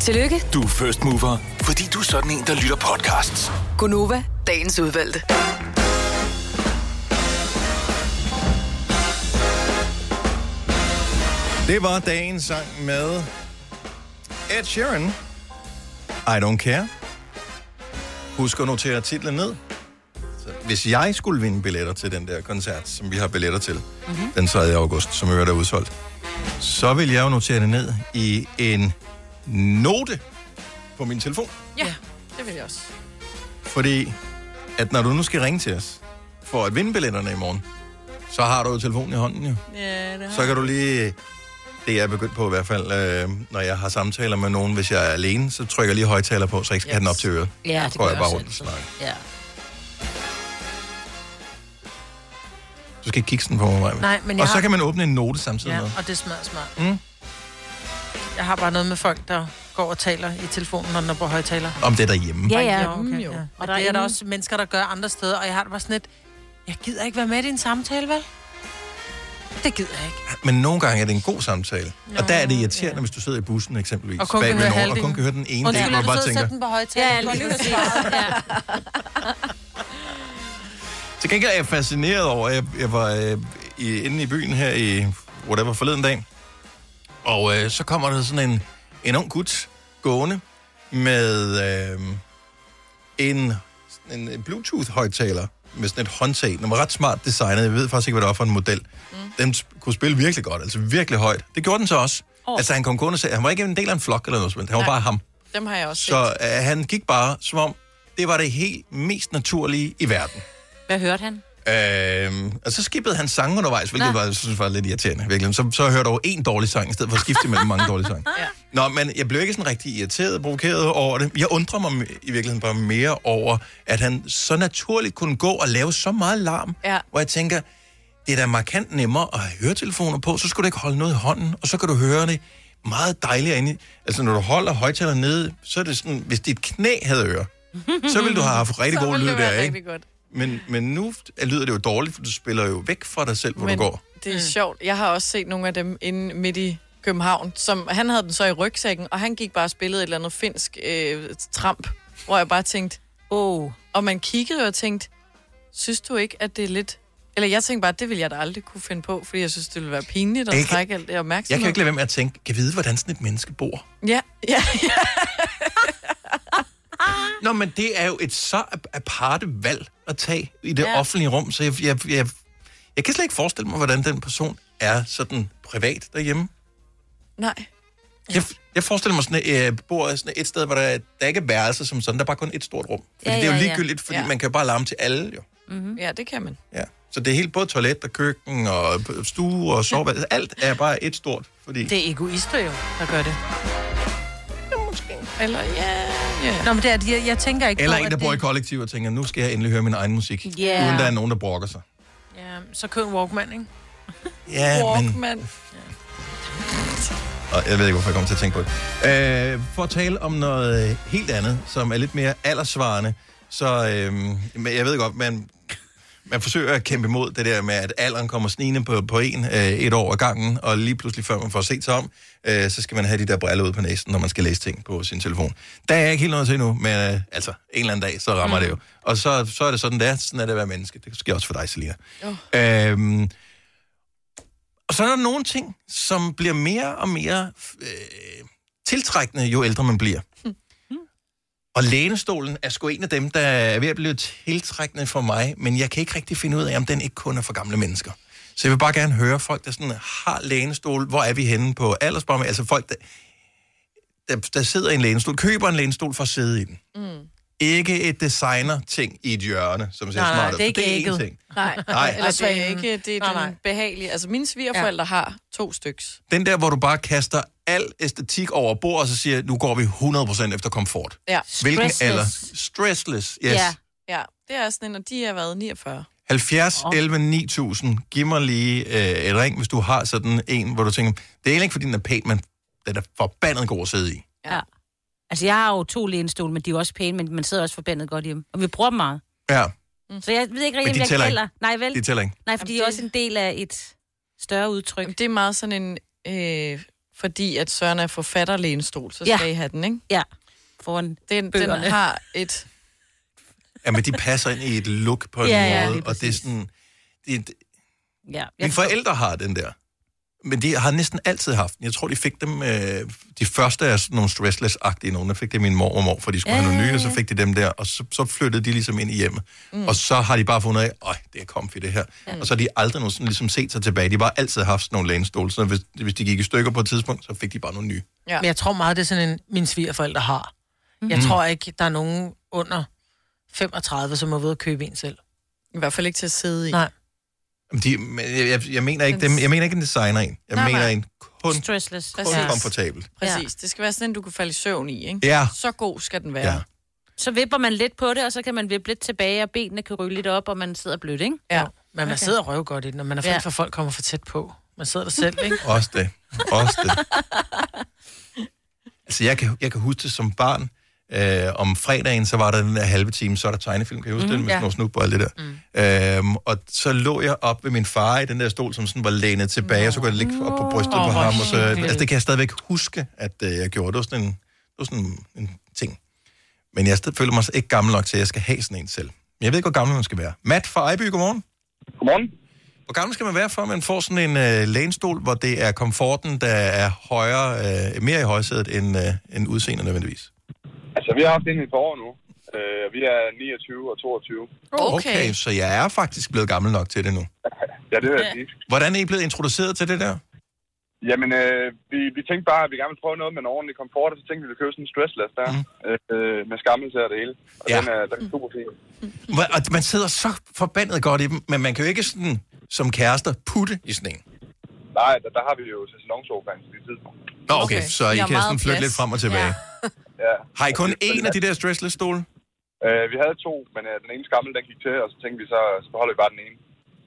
Tillykke, Du er first mover, fordi du er sådan en, der lytter podcasts. Gunova, dagens udvalgte. Det var dagens sang med Ed Sheeran. I don't care. Husk at notere titlen ned. Så hvis jeg skulle vinde billetter til den der koncert, som vi har billetter til, mm-hmm. den 3. august, som i øvrigt er udsolgt, så vil jeg jo notere det ned i en note på min telefon. Ja, det vil jeg også. Fordi at når du nu skal ringe til os for at vinde billetterne i morgen, så har du jo telefonen i hånden jo. Ja, det Så kan du lige... Det er jeg begyndt på i hvert fald, øh, når jeg har samtaler med nogen. Hvis jeg er alene, så trykker jeg lige højtaler på, så jeg ikke skal yes. have den op til øret. Ja, det Går gør jeg bare også rundt og snakker. Ja. Du skal ikke kigge sådan på mig. Maja. Nej, men jeg og så har- kan man åbne en note samtidig Ja, med. og det smager smart. Mm. Jeg har bare noget med folk, der går og taler i telefonen, når den er på højtaler. Om det er derhjemme. Ja, ja. Mm, Okay, jo. ja. Og Og der der er det er der ingen- også mennesker, der gør andre steder, og jeg har det bare sådan lidt, jeg gider ikke være med i din samtale, vel? Det gider jeg ikke. Men nogle gange er det en god samtale. Nå, og der er det irriterende, ja. hvis du sidder i bussen eksempelvis. Og kun bag kan ved høre nogen, og halvdelen. kun kan høre den ene Undskyld, del, er og du bare sød at tænker... sætte den på højtaler? Ja, lige præcis. ja. Til gengæld er jeg fascineret over, at jeg, jeg var øh, i, inde i byen her i whatever forleden dag, og øh, så kommer der sådan en, en ung gut gående med øh, en, sådan en Bluetooth-højtaler med sådan et håndtag. Den var ret smart designet. Jeg ved faktisk ikke, hvad det var for en model. Mm. Den sp- kunne spille virkelig godt, altså virkelig højt. Det gjorde den så også. Oh. Altså han kom gående, så- han var ikke en del af en flok eller noget, som helst. han var bare ham. Dem har jeg også set. Så øh, han gik bare, som om det var det helt mest naturlige i verden. Hvad hørte han? Øhm, og så skippede han sange undervejs, hvilket var, jeg synes var lidt irriterende. Virkelig. Så, så hørte jeg over en dårlig sang, i stedet for at skifte mellem mange dårlige sange. Ja. Nå, men jeg blev ikke sådan rigtig irriteret provokeret over det. Jeg undrer mig i virkeligheden bare mere over, at han så naturligt kunne gå og lave så meget larm, Ja. hvor jeg tænker, det er da markant nemmere at have høretelefoner på, så skal du ikke holde noget i hånden, og så kan du høre det meget dejligt inde. i- Altså, når du holder højtaleren nede, så er det sådan, hvis dit knæ havde ører, så ville du have haft rigtig Så god ville lyd det være der, ikke? rigtig godt. Men, men nu lyder det jo dårligt, for du spiller jo væk fra dig selv, hvor Men du går. det er mm. sjovt. Jeg har også set nogle af dem inde midt i København, som han havde den så i rygsækken, og han gik bare og spillede et eller andet finsk øh, tramp, hvor jeg bare tænkte, oh. og man kiggede og tænkte, synes du ikke, at det er lidt... Eller jeg tænkte bare, det ville jeg da aldrig kunne finde på, fordi jeg synes, det ville være pinligt at Jeg kan- trække alt det opmærksomhed. Jeg kan ikke lade være med at tænke, kan vide, hvordan sådan et menneske bor? Ja, ja, ja. Nå, men det er jo et så ap- aparte valg at tage i det Ja. ja. offentlige rum, så jeg, jeg, jeg, jeg kan slet ikke forestille mig, hvordan den person er sådan privat derhjemme. Nej. Jeg, jeg forestiller mig, sådan, at jeg bor sådan et sted, hvor der, der ikke er værelser som sådan, der er bare kun et stort rum. Fordi Ja, ja, det er jo ja, ja. ligegyldigt, fordi Ja. ja. man kan jo bare larme til alle jo. Mhm. Mm-hmm. ja, det kan man. Ja. Så det er helt både toilet og køkken og stue og soveværelse. Alt er bare et stort, fordi... Det er egoister jo, der gør det. Eller ja... Yeah. Nå, men det er, jeg, jeg tænker ikke Eller på, en, der at bor i det... kollektiv og tænker, nu skal jeg endelig høre min egen musik, Ja. uden der er nogen, der brokker sig. Ja, så køb en Walkman, ikke? Ja, men... men... Og jeg ved ikke, hvorfor jeg kom til at tænke på det. Øh, for at tale om noget helt andet, som er lidt mere aldersvarende, så... Øh, men jeg ved godt, man, man forsøger at kæmpe imod det der med, at alderen kommer snigende på, på en øh, et år ad gangen, og lige pludselig, før man får set sig om, øh, så skal man have de der briller ud på næsen, når man skal læse ting på sin telefon. Der er jeg ikke helt noget til endnu, men øh, altså, en eller anden dag, så rammer mm. det jo. Og så, så er det sådan, det er. Sådan er det at være menneske. Det sker også for dig, Selina. Oh. Øhm, og så er der nogle ting, som bliver mere og mere øh, tiltrækkende, jo ældre man bliver. Og lænestolen er sgu en af dem, der er ved at blive tiltrækkende for mig, men jeg kan ikke rigtig finde ud af, om den ikke kun er for gamle mennesker. Så jeg vil bare gerne høre folk, der sådan har lænestol. Hvor er vi henne på aldersbarmen? Altså folk, der, der, der sidder i en lænestol, køber en lænestol for at sidde i den. Mm. Ikke et designer-ting i et hjørne, som ser Nej, nej, smart ud. det er ikke for det er én ægget. ting. Nej, Nej. eller det er Svanen. Altså, ikke det er Nej, nej. den behagelige. Altså, mine svigerforældre ja. har to styks. Den der, hvor du bare kaster al æstetik over bord, og så siger, nu går vi 100% efter komfort. Ja. Hvilken Stressless. alder? Stressless, yes. Ja. ja, det er sådan en, og de har været 49. 70, oh. 11, 9000. Giv mig lige øh, et ring, hvis du har sådan en, hvor du tænker, det er egentlig ikke, fordi den er pæn, men den er forbandet god at sidde i. Ja. Altså, jeg har jo to lænestole, men de er jo også pæne, men man sidder også forbandet godt hjemme. Og vi bruger dem meget. Ja, Mm. Så jeg ved ikke Men rigtig, om de jeg tæller kalder. ikke. Ah, Nej, vel? de tæller ikke. Nej, for de er også en del af et større udtryk. Det er meget sådan en... Øh, fordi at Søren er forfatter lænestol, så Ja. skal I have den, ikke? Ja. Foran den, den bøgerne. har et... Ja, men de passer ind i et look på en Ja, ja, ja, måde, lige ja, og det er sådan... Det, Ja. mine forældre har den der. Men de har næsten altid haft den. Jeg tror, de fik dem... Øh, de første er sådan nogle stressless-agtige nogen. Der fik det min mor og mor, for de skulle Ja, have ja, nogle nye, ja, og så fik de dem der. Og så, så flyttede de ligesom ind i hjemmet. Mm. Mm. Og så har de bare fundet af, at det er comfy det her. Mm. Mm. Og så har de aldrig nogensinde ligesom set sig tilbage. De har bare altid haft sådan nogle lænestole. Så hvis, hvis de gik i stykker på et tidspunkt, så fik de bare nogle nye. Ja. Men jeg tror meget, det er sådan en, mine svigerforældre har. Mm. Jeg Mhm. tror ikke, der er nogen under 35, som har været ude at købe en selv. I hvert fald ikke til at sidde i. Nej. Men De, men jeg, jeg, jeg, mener ikke dem, jeg mener ikke en designer en. Nej, Jeg nej, mener nej. nej. en kun, Stressless. kun komfortabel. Præcis. Det skal være sådan en, du kan falde i søvn i, ikke? Ja. Så god skal den være. Ja. Så vipper man lidt på det, og så kan man vippe lidt tilbage, og benene kan ryge lidt op, og man sidder blødt, ikke? Ja. Men man sidder røv godt i den, og man er fri Ja. for, at folk kommer for tæt på. Man sidder der selv, ikke? Også det. Også det. Altså, jeg kan, jeg kan huske det som barn. Øh, om fredagen, så var der den der halve time, så er der tegnefilm, kan jeg huske mm, Mhm, den, med ja. ja. sådan noget og alt det der. Mm. Øhm, og så lå jeg op ved min far i den der stol, som sådan var lænet tilbage, og så kunne jeg ligge op på brystet Nå, på hvor ham. Og så, hyggeligt. altså, det kan jeg stadigvæk huske, at øh, jeg gjorde. Det var sådan en, det var sådan en ting. Men jeg stadig føler mig så ikke gammel nok til, at jeg skal have sådan en selv. Men jeg ved ikke, hvor gammel man skal være. Matt fra Ejby, godmorgen. Godmorgen. Hvor gammel skal man være, for at man får sådan en øh, lænestol, hvor det er komforten, der er højere, øh, mere i højsædet end, øh, end udseendet nødvendigvis? Altså, vi har haft hende i et par år nu. Øh, vi er 29 og 22. okay. Så jeg er faktisk blevet gammel nok til det nu. Ja, det vil jeg sige. Hvordan er I blevet introduceret til det der? Jamen, øh, vi, vi tænkte bare, at vi gerne ville prøve noget med en ordentlig komfort, og så tænkte vi, at vi ville købe sådan en stressless der, mm. øh, med skammelse og det hele. Og Ja. ja. den, er, den er super fin. Hvor- Og man sidder så forbandet godt i dem, men man kan jo ikke sådan, som kærester putte i sådan en. Nej, der, der har vi jo sæsonsofaen til det tidspunkt. Nå, okay, okay. så I Vi har kan sådan meget flytte plads. lidt frem og tilbage. Ja. Ja. Har I kun én af de der stressless-stole? Øh, vi havde to, men øh, den ene skammel, den gik til, og så tænkte vi, så, så holder vi bare den ene.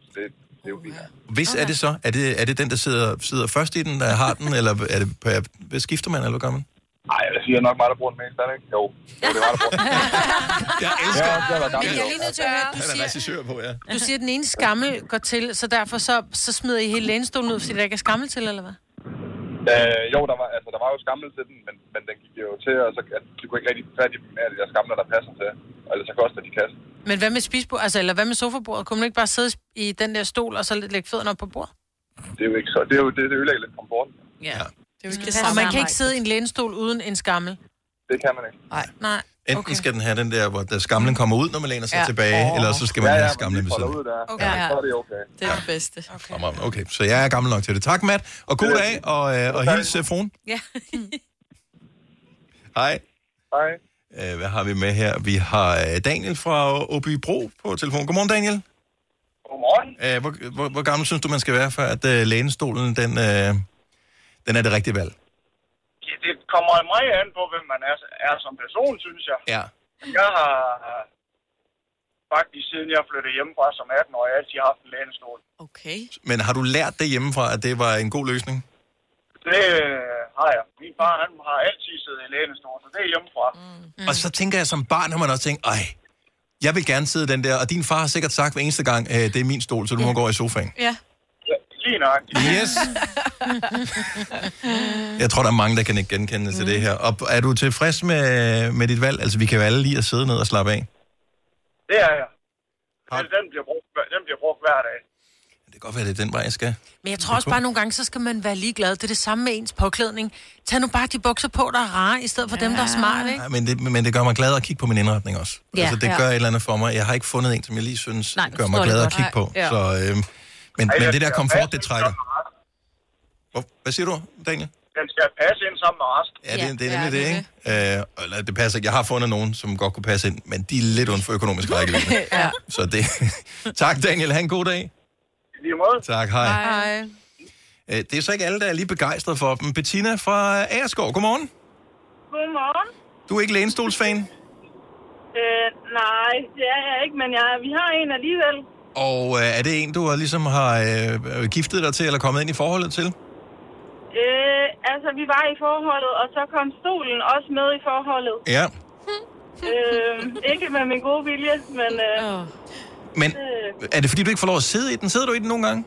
Så det, det er jo fint. Hvis okay. er det så? Er det, er det den, der sidder, sidder først i den, der har den, eller er det, på, hvad skifter man, eller hvad gør man? Nej, jeg siger nok mig, der bruger den mest, er det ikke? Jo, jo det var der bruger den. jeg elsker ja, det. Var gammel, Men jeg er lige nødt til at høre, du siger- regissør på, ja. Du siger, at den ene skammel går til, så derfor så, så smider I hele lænestolen ud, fordi der ikke er skammel til, eller hvad? Øh, jo, der var, altså, der var jo skammel til den, men, men den gik jo til, og så at du kunne ikke rigtig få fat i dem af de der skamler, der passer til. Eller så koster de kassen. Men hvad med spisbord, altså, eller hvad med sofabordet? Kunne man ikke bare sidde i den der stol, og så lidt lægge fødderne op på bordet? Det er jo ikke så. Det, er jo, det, det ødelægger lidt komforten. Ja. Det er jo ikke Det og man kan ikke sidde i en lænestol uden en skammel. Det kan man ikke. Nej. Nej. Enten okay. skal den have den der, hvor der skamlen kommer ud, når man læner sig Ja. ja. tilbage, Åh. eller så skal man Ja, ja, ja, have men skamlen vi ved folder siden. ud der. Okay. Ja, så er det okay. Det er det bedste. Okay. okay, så jeg er gammel nok til det. Tak, Matt, og god dag, og, øh, og hils øh, fruen. Ja. Hej. Hej. Øh, hvad har vi med her? Vi har øh, Daniel fra Åbybro på telefon. Godmorgen, Daniel. Godmorgen. Æh, hvor, hvor, hvor gammel synes du, man skal være, for at øh, lænestolen den, øh, den er det rigtige valg? Ja, det kommer meget an på, hvem man er, er som person, synes jeg. Ja. Jeg har øh, faktisk, siden jeg flyttede hjemmefra som 18 år, altid haft en lænestol. Okay. Men har du lært det hjemmefra, at det var en god løsning? Det øh, har jeg. Min far, han har altid siddet i lænestol, så det er hjemmefra. Mm. Mm. Og så tænker jeg, som barn har man også tænkt, ej, jeg vil gerne sidde i den der, og din far har sikkert sagt hver eneste gang, øh, det er min stol, så du må gå over i sofaen. Ja. ja lige nok. Yes. Jeg tror, der er mange, der kan ikke genkende til det her. Og er du tilfreds med, med dit valg? Altså, vi kan jo alle lige at sidde ned og slappe af. Det det er jeg. Den, den, bliver brugt, hver- den bliver brugt hver dag. kan godt være, det er den vej, jeg skal. Men jeg tror også bare, at nogle gange, så skal man være ligeglad. Det er det samme med ens påklædning. Tag nu bare de bukser på, der er rare, i stedet for ja. dem, der er smarte, ikke? Nej, men det, men det gør mig glad at kigge på min indretning også. Ja. Ja, altså, det Ja. gør et eller andet for mig. Jeg har ikke fundet en, som jeg lige synes Nej, Nej, gør mig forstår det glad at godt. kigge på. Nej, ja. Ja. Så, øh, men, Ej, men jeg det der skal- komfort, jeg det synes, trækker. Hvor- Hvad siger du, Daniel? Den skal passe ind sammen med resten. Ja, det, det er nemlig det, ikke? Øh, eller det passer ikke. Jeg har fundet nogen, som godt kunne passe ind, men de er lidt uden for økonomisk rækkevidde. ja. Så det... tak, Daniel. Ha' en god dag. I lige måde. Tak, hej. Øh, Det er så ikke alle, der er lige begejstret for dem. Bettina fra Agerskov, godmorgen. Godmorgen. Du er ikke lænestolsfan, Øh, nej, det er jeg ikke, men jeg, vi har en alligevel. og øh, er det en, du har ligesom har øh, giftet dig til, eller kommet ind i forholdet til? Øh, altså, vi var i forholdet, og så kom stolen også med i forholdet. Ja. øh, ikke med min gode vilje, men... Øh, Men øh, er det, fordi du ikke får lov at sidde i den? Sidder du i den nogle gange?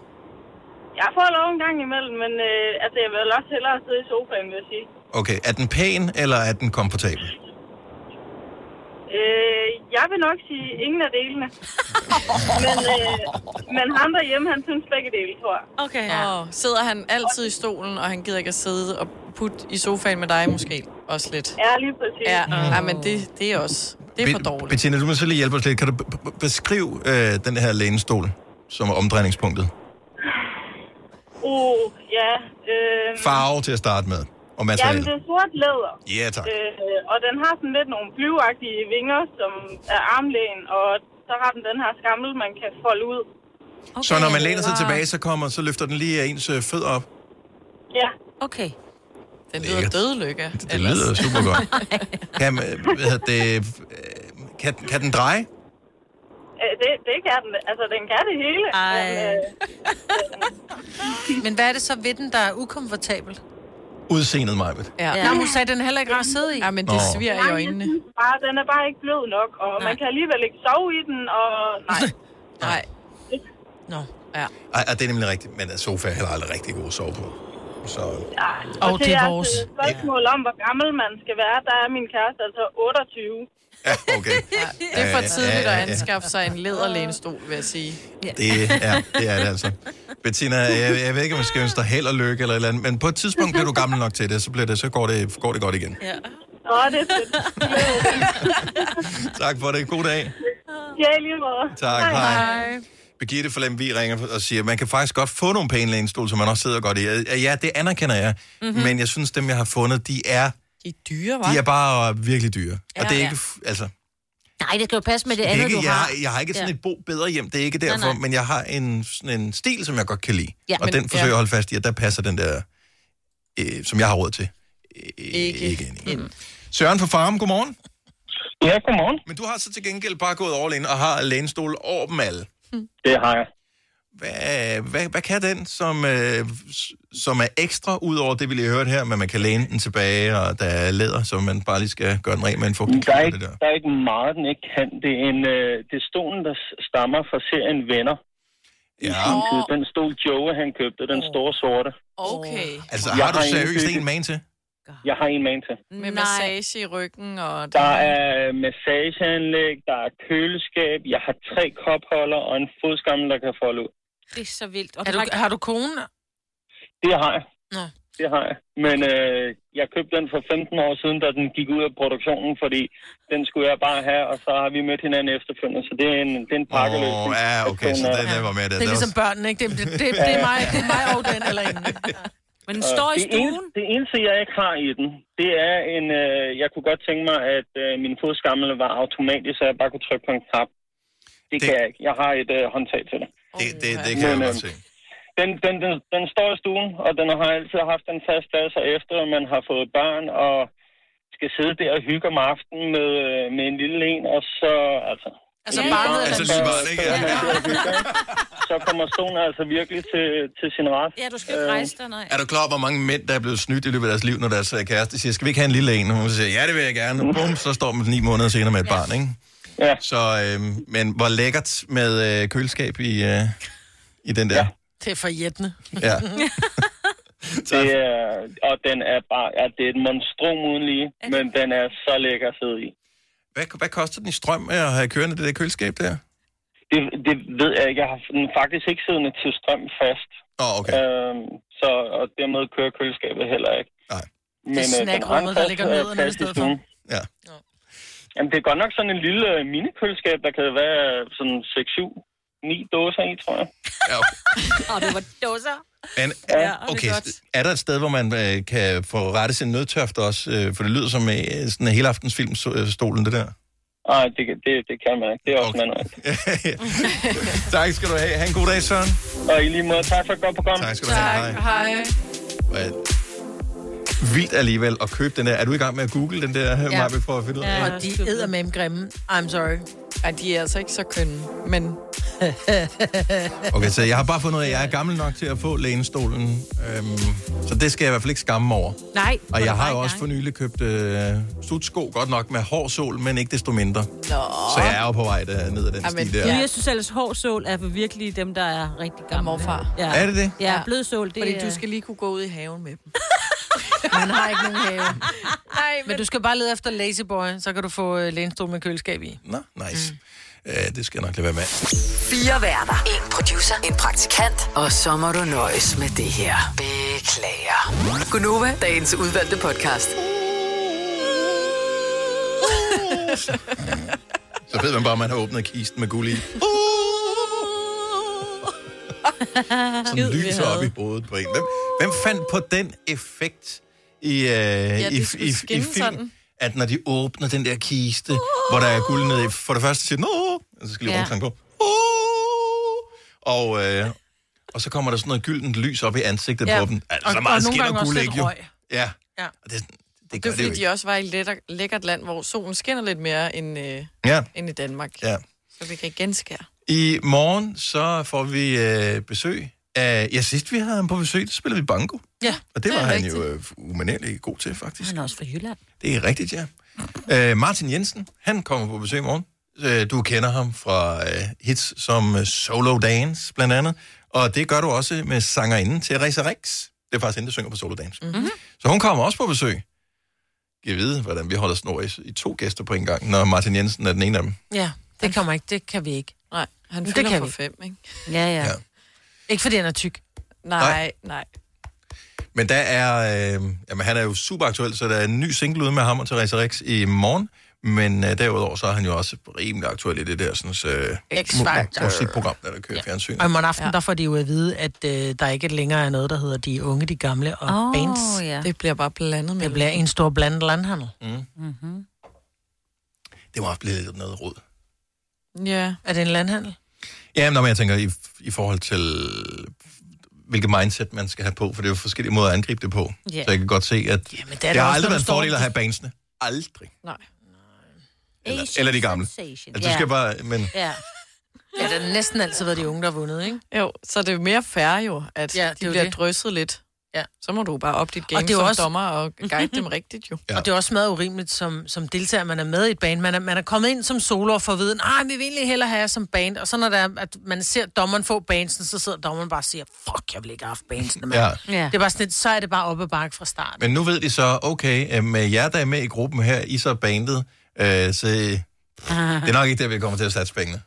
jeg får lov en gang imellem, men øh, altså, jeg vil også hellere sidde i sofaen, vil jeg sige. Okay, er den pæn, eller er den komfortabel? Øh, jeg vil nok sige ingen af delene. men, øh, men ham derhjemme, han synes begge dele, tror jeg. Okay, ja. oh, sidder han altid i stolen, og han gider ikke at sidde og putte i sofaen med dig måske også lidt? Ja, lige præcis. Mm. Ja, ja men det, det er også... Det er for Be- dårligt. Bettina, du må så lige hjælpe os lidt. Kan du b- b- beskrive øh, den her lænestol, som er omdrejningspunktet? Uh, ja. Øh, Farve til at starte med, og Jamen, materiale. det er sort læder. Ja, tak. Øh, og den har sådan lidt nogle flyveagtige vinger, som er armlæn, og så har den den her skammel, man kan folde ud. Okay, så når man læner sig tilbage, så kommer, så løfter den lige ens øh, fødder op. Ja. Okay. Den Lækkert. dødlykke. Det lyder super godt. Kan, man- hvad hedder det, øh, kan, kan den dreje? Øh, det, det kan den. Altså, den kan det hele. øh. Ej. Men, øh, Men hvad er det så ved den, der er ukomfortabel? Udseendet, Majbet. Ja. Nå, men hun sagde, den er heller ikke rar at sidde i. Ja, men det Nå. sviger i øjnene. Bare, den er bare ikke blød nok, og nej. man kan alligevel ikke sove i den, og nej. nej. Nå. Ja. Ej, ej, det er nemlig rigtigt, men øh, sofa er heller aldrig rigtig god at sove på. Så, Og, Og til det er jeres, vores. øh, spørgsmål om, hvor gammel man skal være, der er min kæreste altså 28. ja, okay. Det er for Ja, ja, tidligt ja, ja, at ja. anskaffe sig en læderlænestol, vil jeg sige. Det er, det er det altså. Bettina, jeg, jeg ved ikke, om jeg skal ønske dig held og lykke eller et eller andet, men på et tidspunkt bliver du gammel nok til det, så, bliver det, så går, det, går det godt igen. Ja. Nå, det er fedt. Tak for det. God dag. ja, i lige måde. Tak, hej. Birgitte fra Lemvi ringer og siger, at man kan faktisk godt få nogle pæne lænestol, som man også sidder godt i. Øh, Ja, det anerkender jeg, Mhm. mm-hmm. men jeg synes, dem, jeg har fundet, de er, De er dyre, var. de er bare øh, virkelig dyre. Ja, Ja, og det er ja. ikke, f- altså, Nej, det skal jo passe med det Det er andet, ikke, du jeg, har. jeg har ikke sådan ja. et bo bedre hjem, det er ikke Nej, derfor, nej, nej. nej. men jeg har en, sådan en stil, som jeg godt kan lide. Ja, Ja, og men- men, den forsøger ja. jeg at holde fast i, at der passer den der, øh, som jeg har råd til. Ikke. ikke Mm. Søren fra Farm, godmorgen. Ja, godmorgen. Men du har så til gengæld bare gået all in og har lænestol over dem alle. Mm. Det har jeg. Hvad, hvad, hvad kan den, som, øh, s- som er ekstra, ud over det, vi lige hørte her, men man kan læne den tilbage, og der er læder, så man bare lige skal gøre den ren med en fugtig Der klud er, og ikke, det der. der er ikke meget, den ikke kan. Det er, en, øh, det er stolen, der s- stammer fra serien Venner. I Ja. sin tid. Den stol Joe, han købte, den store sorte. Okay. Altså, har du seriøst indbygget- en man til? Jeg har en man til. Mm, Med massage i ryggen og... Der er massageanlæg, der er køleskab, jeg har tre kopholder og en fodskammel, der kan folde ud. Det er så vildt. Er du, har du kone? Det har jeg. Nå. Det har jeg. Men øh, jeg købte den for 15 år siden, da den gik ud af produktionen, fordi den skulle jeg bare have, og så har vi mødt hinanden efterfølgende. Så det er en, det er en pakkeløsning. Åh, ja, okay, så den der var med. Det er ligesom børnene, ikke? Det, det, det, det er mig, det er mig og den eller ingen. Men den står i det stuen. Eneste, det eneste, jeg ikke har i den, det er en... Øh, jeg kunne godt tænke mig, at øh, min fodskammel var automatisk, så jeg bare kunne trykke på en knap. Det, det kan jeg ikke. Jeg har et øh, håndtag til det. Det, det, det kan jeg Men, godt øh, se. Den, den, den, den står i stuen, og den har altid haft en fast plads, og efter man har fået børn, og skal sidde der og hygge om aftenen med, øh, med en lille en, og så... Altså, Altså barnet eller så, Altså lille så, er man der og hygger, ikke? så kommer stolen altså virkelig til, til sin ret. Øh, Ja, du skal ikke rejse dig, nej. Er du klar over, hvor mange mænd, der er blevet snydt i løbet af deres liv, når deres øh, kæreste siger, skal vi ikke have en lille en? Og hun siger, ja, det vil jeg gerne. Og bum, så står man ni måneder senere med et barn, ikke? Ja. Så, øh, men hvor lækkert med øh, køleskab i, øh, i den der. Det er for jættende. Ja. Det er, og den er bare, ja, det er et monstrum uden lige, men den er så lækker at sidde i. Hvad, hvad koster den i strøm at have kørende det der køleskab der? Det, det ved jeg ikke. Jeg har den faktisk ikke siddende til strøm fast. Oh, okay. øhm, så, og dermed kører køleskabet heller ikke. Nej. Men, øh, den har en snackrummet, der fast, ligger øh, nederne i plads stedet stuen. Ja. Jamen, det er godt nok sådan en lille øh, minikøleskab, der kan være øh, sådan 6, 7, 9 dåser i, tror jeg. Ja, okay. Og det var dåser. Men, Ja, er, det er okay, godt. er der et sted, hvor man øh, kan få rettet sin nødtørft også? Øh, for det lyder som øh, sådan en helaftensfilmstolen, det der. Nej, det, kan- det, det kan man ikke. Det er også okay. manuelt. tak skal du have. Ha' en god dag, Søren. Og i lige måde, tak for et godt program. Tak skal du have. Hej. Hej. Vildt alligevel at købe den der. Er du i gang med at google den der her, ja. for at finde ud af? Ja, og de æder med grimme. I'm sorry. Ja, de er altså ikke så kønne, men... Okay, så jeg har bare fundet ud af, at jeg er gammel nok til at få lænestolen. Øhm, så det skal jeg i hvert fald ikke skamme mig over. Nej. Og jeg har jo også for nylig købt øh, sutsko, godt nok med hård sol, men ikke desto mindre. Nå. Så jeg er jo på vej der, ned ad den Amen. sti der. Ja. Jeg synes ellers, hård sål er for virkelig dem, der er rigtig gamle. morfar. Ja. Er det det? Ja, blød sål, det Fordi er... du skal lige kunne gå ud i haven med dem. Man har ikke nogen have. Nej, men... men du skal bare lede efter Lazyboy, så kan du få øh, lænestol med køleskab i. Nå, nice. Mm. Øh, det skal jeg nok lade være med. Fire værter. En producer. En praktikant. Og så må du nøjes med det her. Beklager. Gunova, dagens udvalgte podcast. Så ved man bare, at man har åbnet kisten med guld i. Uh! Sådan lyser op i hovedet på en. Hvem, hvem fandt på den effekt i, øh, ja, i, det i, skulle i, i skinne film? sådan. Sådan. At når de åbner den der kiste, oh. hvor der er guld nede i, for det første siger den, "Åh!" og så skal de Ja. ja. på. Oh. Og, øh, og så kommer der sådan noget gyldent lys op i ansigtet Ja. på dem. Altså, Og- så og meget nogle skinner gange også guld lidt ikke jo. røg. Ja, Ja. og det, det Det, det er gør det jo fordi, ikke. de også var i et lækker, lækkert land, hvor solen skinner lidt mere end, øh, Ja. end i Danmark. Ja. Så vi kan genskære. I morgen, så får vi øh, besøg af... Ja, sidst vi havde ham på besøg, der spillede vi banko. Ja, Og det var han jo øh, umanerligt god til, faktisk. Han er også fra Jylland. Det er rigtigt, ja. Øh, Martin Jensen, han kommer på besøg i morgen. Øh, du kender ham fra øh, hits som øh, Solo Dance, blandt andet. Og det gør du også med sangerinden Teresa Rex. Det er faktisk hende, der synger på Solo Dance. Mm. Mm-hmm. Så hun kommer også på besøg. Jeg ved, hvordan vi holder snor i, i to gæster på en gang, når Martin Jensen er den ene af dem. Ja, det kommer ikke. Det kan vi ikke. Nej, han Men det fylder kan for vi. fem, ikke? Ja, ja. Ja. Ikke fordi han er tyk. Nej, nej. Men der er, øh, jamen, han er jo super aktuel, så der er en ny single ude med ham og Therese Rex i morgen. Men øh, derudover, så er han jo også rimelig aktuel i det der sådan, så, øh, X-Factor. mu- musikprogram, der, der kører ja. fjernsyn. Og i morgen aften, ja. der får de jo at vide, at øh, der ikke længere er noget, der hedder de unge, de gamle og Åh, oh, bands. ja. Det bliver bare blandet med. Det bliver en stor blandet landhandel. Mm. Mm-hmm. Det må også blive lidt noget råd. Ja. Er det en landhandel? Ja, men, nå, men jeg tænker i, i forhold til, hvilket mindset man skal have på, for det er jo forskellige måder at angribe det på. Ja. Så jeg kan godt se, at ja, men det, der er det der har også, aldrig når været en du står- fordel at have bandsene. Aldrig. Nej. Eller, eller de gamle. Altså, sensation. det Ja. skal bare, men Ja. Ja, det har næsten altid været de unge, der har vundet, ikke? Jo, så det er jo mere fair jo, at Ja, ja, det er de jo bliver det. det. drysset lidt. Ja. Så må du bare op dit game Og det er jo som også- også... dommer og guide dem rigtigt jo. Ja. Og det er også meget urimeligt som, som deltager, man er med i et band. Man er, man er kommet ind som solo og får at vide, nej, vi vil egentlig hellere have jer som band. Og så når der, er- at man ser dommeren få bandsen, så sidder dommeren bare og siger, fuck, jeg vil ikke have haft bandsen. Ja. Ja. Ja. Det er bare sådan lidt, så er det bare op ad bakke fra start. Men nu ved de så, okay, øh, med jer, der er med i gruppen her, I så er bandet, øh, så det Ah. er nok ikke der, vi kommer til at satse pengene.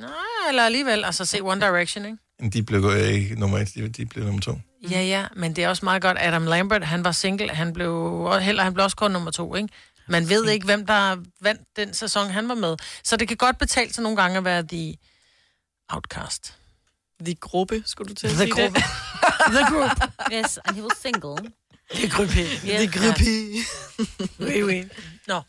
Nej, eller alligevel, altså se One Direction, ikke? De blev øh, nummer et, de, de blev nummer to. Ja, ja, men det er også meget godt, Adam Lambert, han var single, han blev, og heller, han blev også kun nummer to, ikke? Man ved ikke, hvem der vandt den sæson, han var med. Så det kan godt betale sig nogle gange at være de outcast. The gruppe, skulle du til at The sige gruppe. det? The group. Yes, and he was single. Det gruppe. Yes. Det gruppe. Oui, oui. Nå.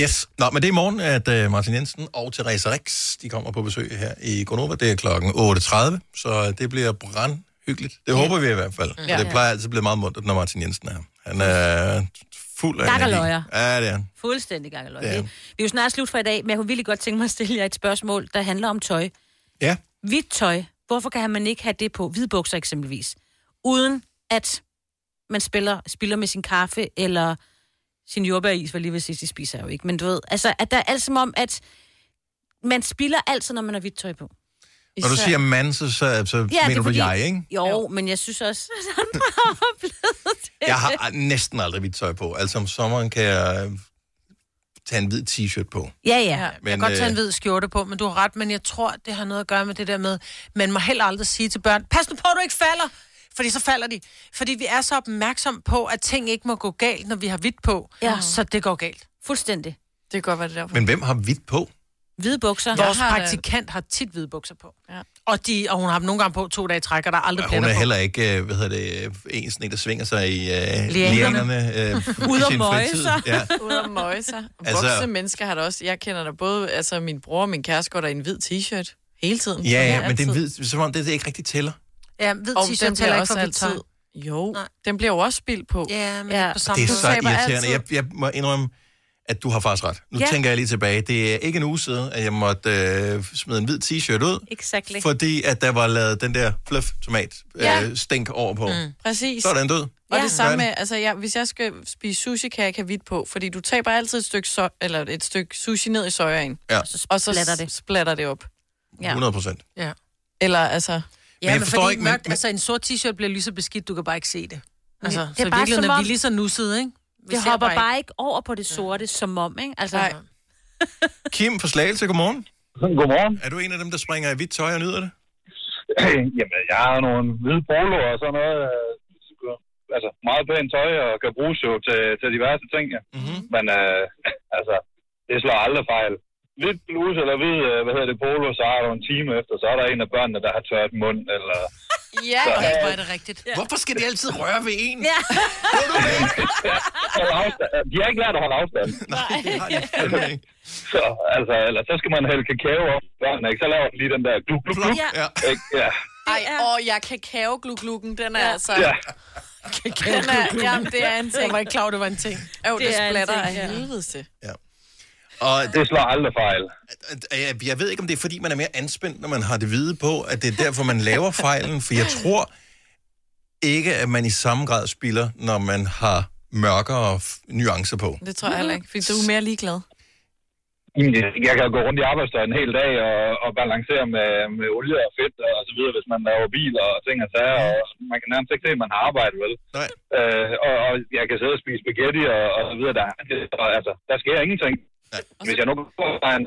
Yes. Nå, men det er i morgen, at øh, Martin Jensen og Therese Rex, de kommer på besøg her i Gronova. Det er klokken 8.30, så det bliver brandhyggeligt. Det håber vi i hvert fald. Ja. Ja. Det plejer altid at blive meget muntert, når Martin Jensen er her. Han er fuld af Gakkerløjer. Ja, det er han. Fuldstændig gang eller Ja. ja. Vi er jo snart slut for i dag, men jeg kunne virkelig godt tænke mig at stille jer et spørgsmål, der handler om tøj. Ja. Hvidt tøj, hvorfor kan man ikke have det på? Hvide bukser eksempelvis. Uden at man spiller, spiller med sin kaffe eller sin jordbæris, hvad lige ved sidst, de spiser jeg jo ikke. Men du ved, altså, at der er alt som om, at man spiller altid, når man har hvidt tøj på. Når du siger mand, så, så, så ja, det mener er du fordi... jeg, ikke? Jo, jo, men jeg synes også, at andre har blevet det. Jeg har næsten aldrig hvidt tøj på. Altså om sommeren kan jeg øh, tage en hvid t-shirt på. Ja, ja. Men, jeg Men, kan godt tage en øh, hvid skjorte på, men du har ret, men jeg tror, det har noget at gøre med det der med, man må heller aldrig sige til børn, pas nu på, at du ikke falder, fordi så falder de. Fordi vi er så opmærksom på, at ting ikke må gå galt, når vi har hvidt på, ja. så det går galt. Fuldstændig. Det kan godt være det derfor. Men hvem har hvidt på? Hvide bukser. øh, Vores Jeg har da- praktikant har tit hvide bukser på. Ja. Og, de, og hun har dem nogle gange på to dage i træk, og der er aldrig Hun pletter er på. heller ikke, øh, hvad hedder det, øh, en sådan en, der svinger sig i øh, Lianerne. lianerne. Øh, Ud i og sin møje fritid. sig. Ja. Ud og møje sig. Altså- Voksne altså... mennesker har der også. Jeg kender der både, altså min bror og min kæreste går der i en hvid t-shirt. Hele tiden. Ja, ja, men det altid. er en hvid, som om det, det ikke rigtig tæller. Ja, hvid Og t-shirt tæller den bliver ikke for også hvidt tøj. altid- Jo, Nej. den bliver jo også spildt på. Ja, men ja. på Det samme er måde. så irriterende. Jeg, jeg må indrømme, at du har faktisk ret. Nu Ja. ja. tænker jeg lige tilbage. Det er ikke en uge siden, at jeg måtte øh, smide en hvid t-shirt ud, Exactly. fordi at der var lavet den der fluff-tomat-stink Ja. øh, stænk over på. Mm. Præcis. Så er den død. Og Ja. det samme Sådan. med, altså jeg, hvis jeg skal spise sushi, kan jeg ikke have hvidt på, fordi du taber altid et stykke, so- eller et stykke sushi ned i sojaen, Ja. og så splatter splatter det. det, splatter det op. 100 procent. Ja. Eller altså... Ja, men, men fordi ikke, mørkt, men, altså en sort t-shirt bliver lige så beskidt, du kan bare ikke se det. Altså, Det er det så i bare virkeligheden som er om- vi lige så nussede, ikke? Vi Det ser hopper bare ikke over på det sorte, som om, ikke? Altså, Nej. Kim fra Slagelse, godmorgen. Godmorgen. Er du en af dem, der springer i hvidt tøj og nyder det? Jamen, jeg har nogle hvide polo og sådan noget. øh, Altså, meget pænt tøj og kan bruges jo til, til diverse ting, ja. Mhm. Mm-hmm. Men øh, altså, det slår aldrig fejl. Hvid bluse eller hvid, øh, hvad hedder det, polo, så har du en time efter, så er der en af børnene, der har tørt mund, eller... Ja, Så- okay, hvor er det rigtigt. Ja. Hvorfor skal de altid røre ved en? Ja. Hold afstand. De har ikke lært at holde afstand. Nej, det har de Så, altså, eller så skal man hælde kakao op børnene, ikke? Så laver de lige den der gluk, gluk, gluk. Ja. Ikke? Ja. Ej, åh, jeg kakaoglugglukken, den er altså... Ja. Den er, jamen, det er en ting. Jeg var ikke klar, over, det var en ting. Jo, det, Det det er en splatter ting, af ja. helvede til. Og det slår aldrig fejl. Jeg, jeg ved ikke, om det er, fordi man er mere anspændt, når man har det hvide på, at det er derfor, man laver fejlen, for jeg tror ikke, at man i samme grad spiller, når man har mørkere f- nuancer på. Det tror jeg heller ikke, fordi du er mere ligeglad. Jamen, jeg- Jeg kan jo gå rundt i arbejdstøj en hel dag og, og balancere med, med olie og fedt og så videre, hvis man laver biler og ting og sager, og man kan nærmest ikke se, at man har arbejdet, vel? Nej. Øh, og, og jeg kan sidde og spise spaghetti og, og så videre. Der, og, altså, der sker ingenting. Nej. Hvis jeg nu går fra en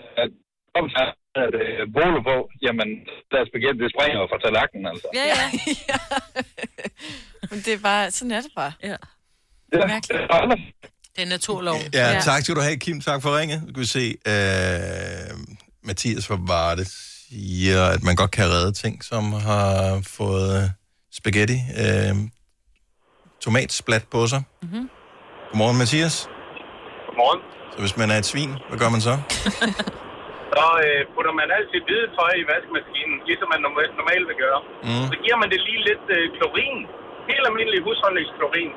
kom så er det bolo på, jamen, der er spaghetti, det springer jo fra tallerkenen, altså. Ja, ja. Men det er bare, sådan er det bare. Ja. Ja, Mærkeligt. Det er naturlov. Ja, ja, tak skal du have, Kim. Tak for ringet. Nu skal vi se. Øh, Mathias fra Varde siger, at man godt kan redde ting, som har fået øh, spaghetti, øh, tomatsplat på sig. Mhm. Mm-hmm. Godmorgen, Mathias. Godmorgen. Så hvis man er et svin, hvad gør man så? Så øh, putter man altid hvide tøj i vaskemaskinen, ligesom man norm- normalt vil gøre. Mm. Så giver man det lige lidt øh, klorin, helt almindelig husholdningsklorin,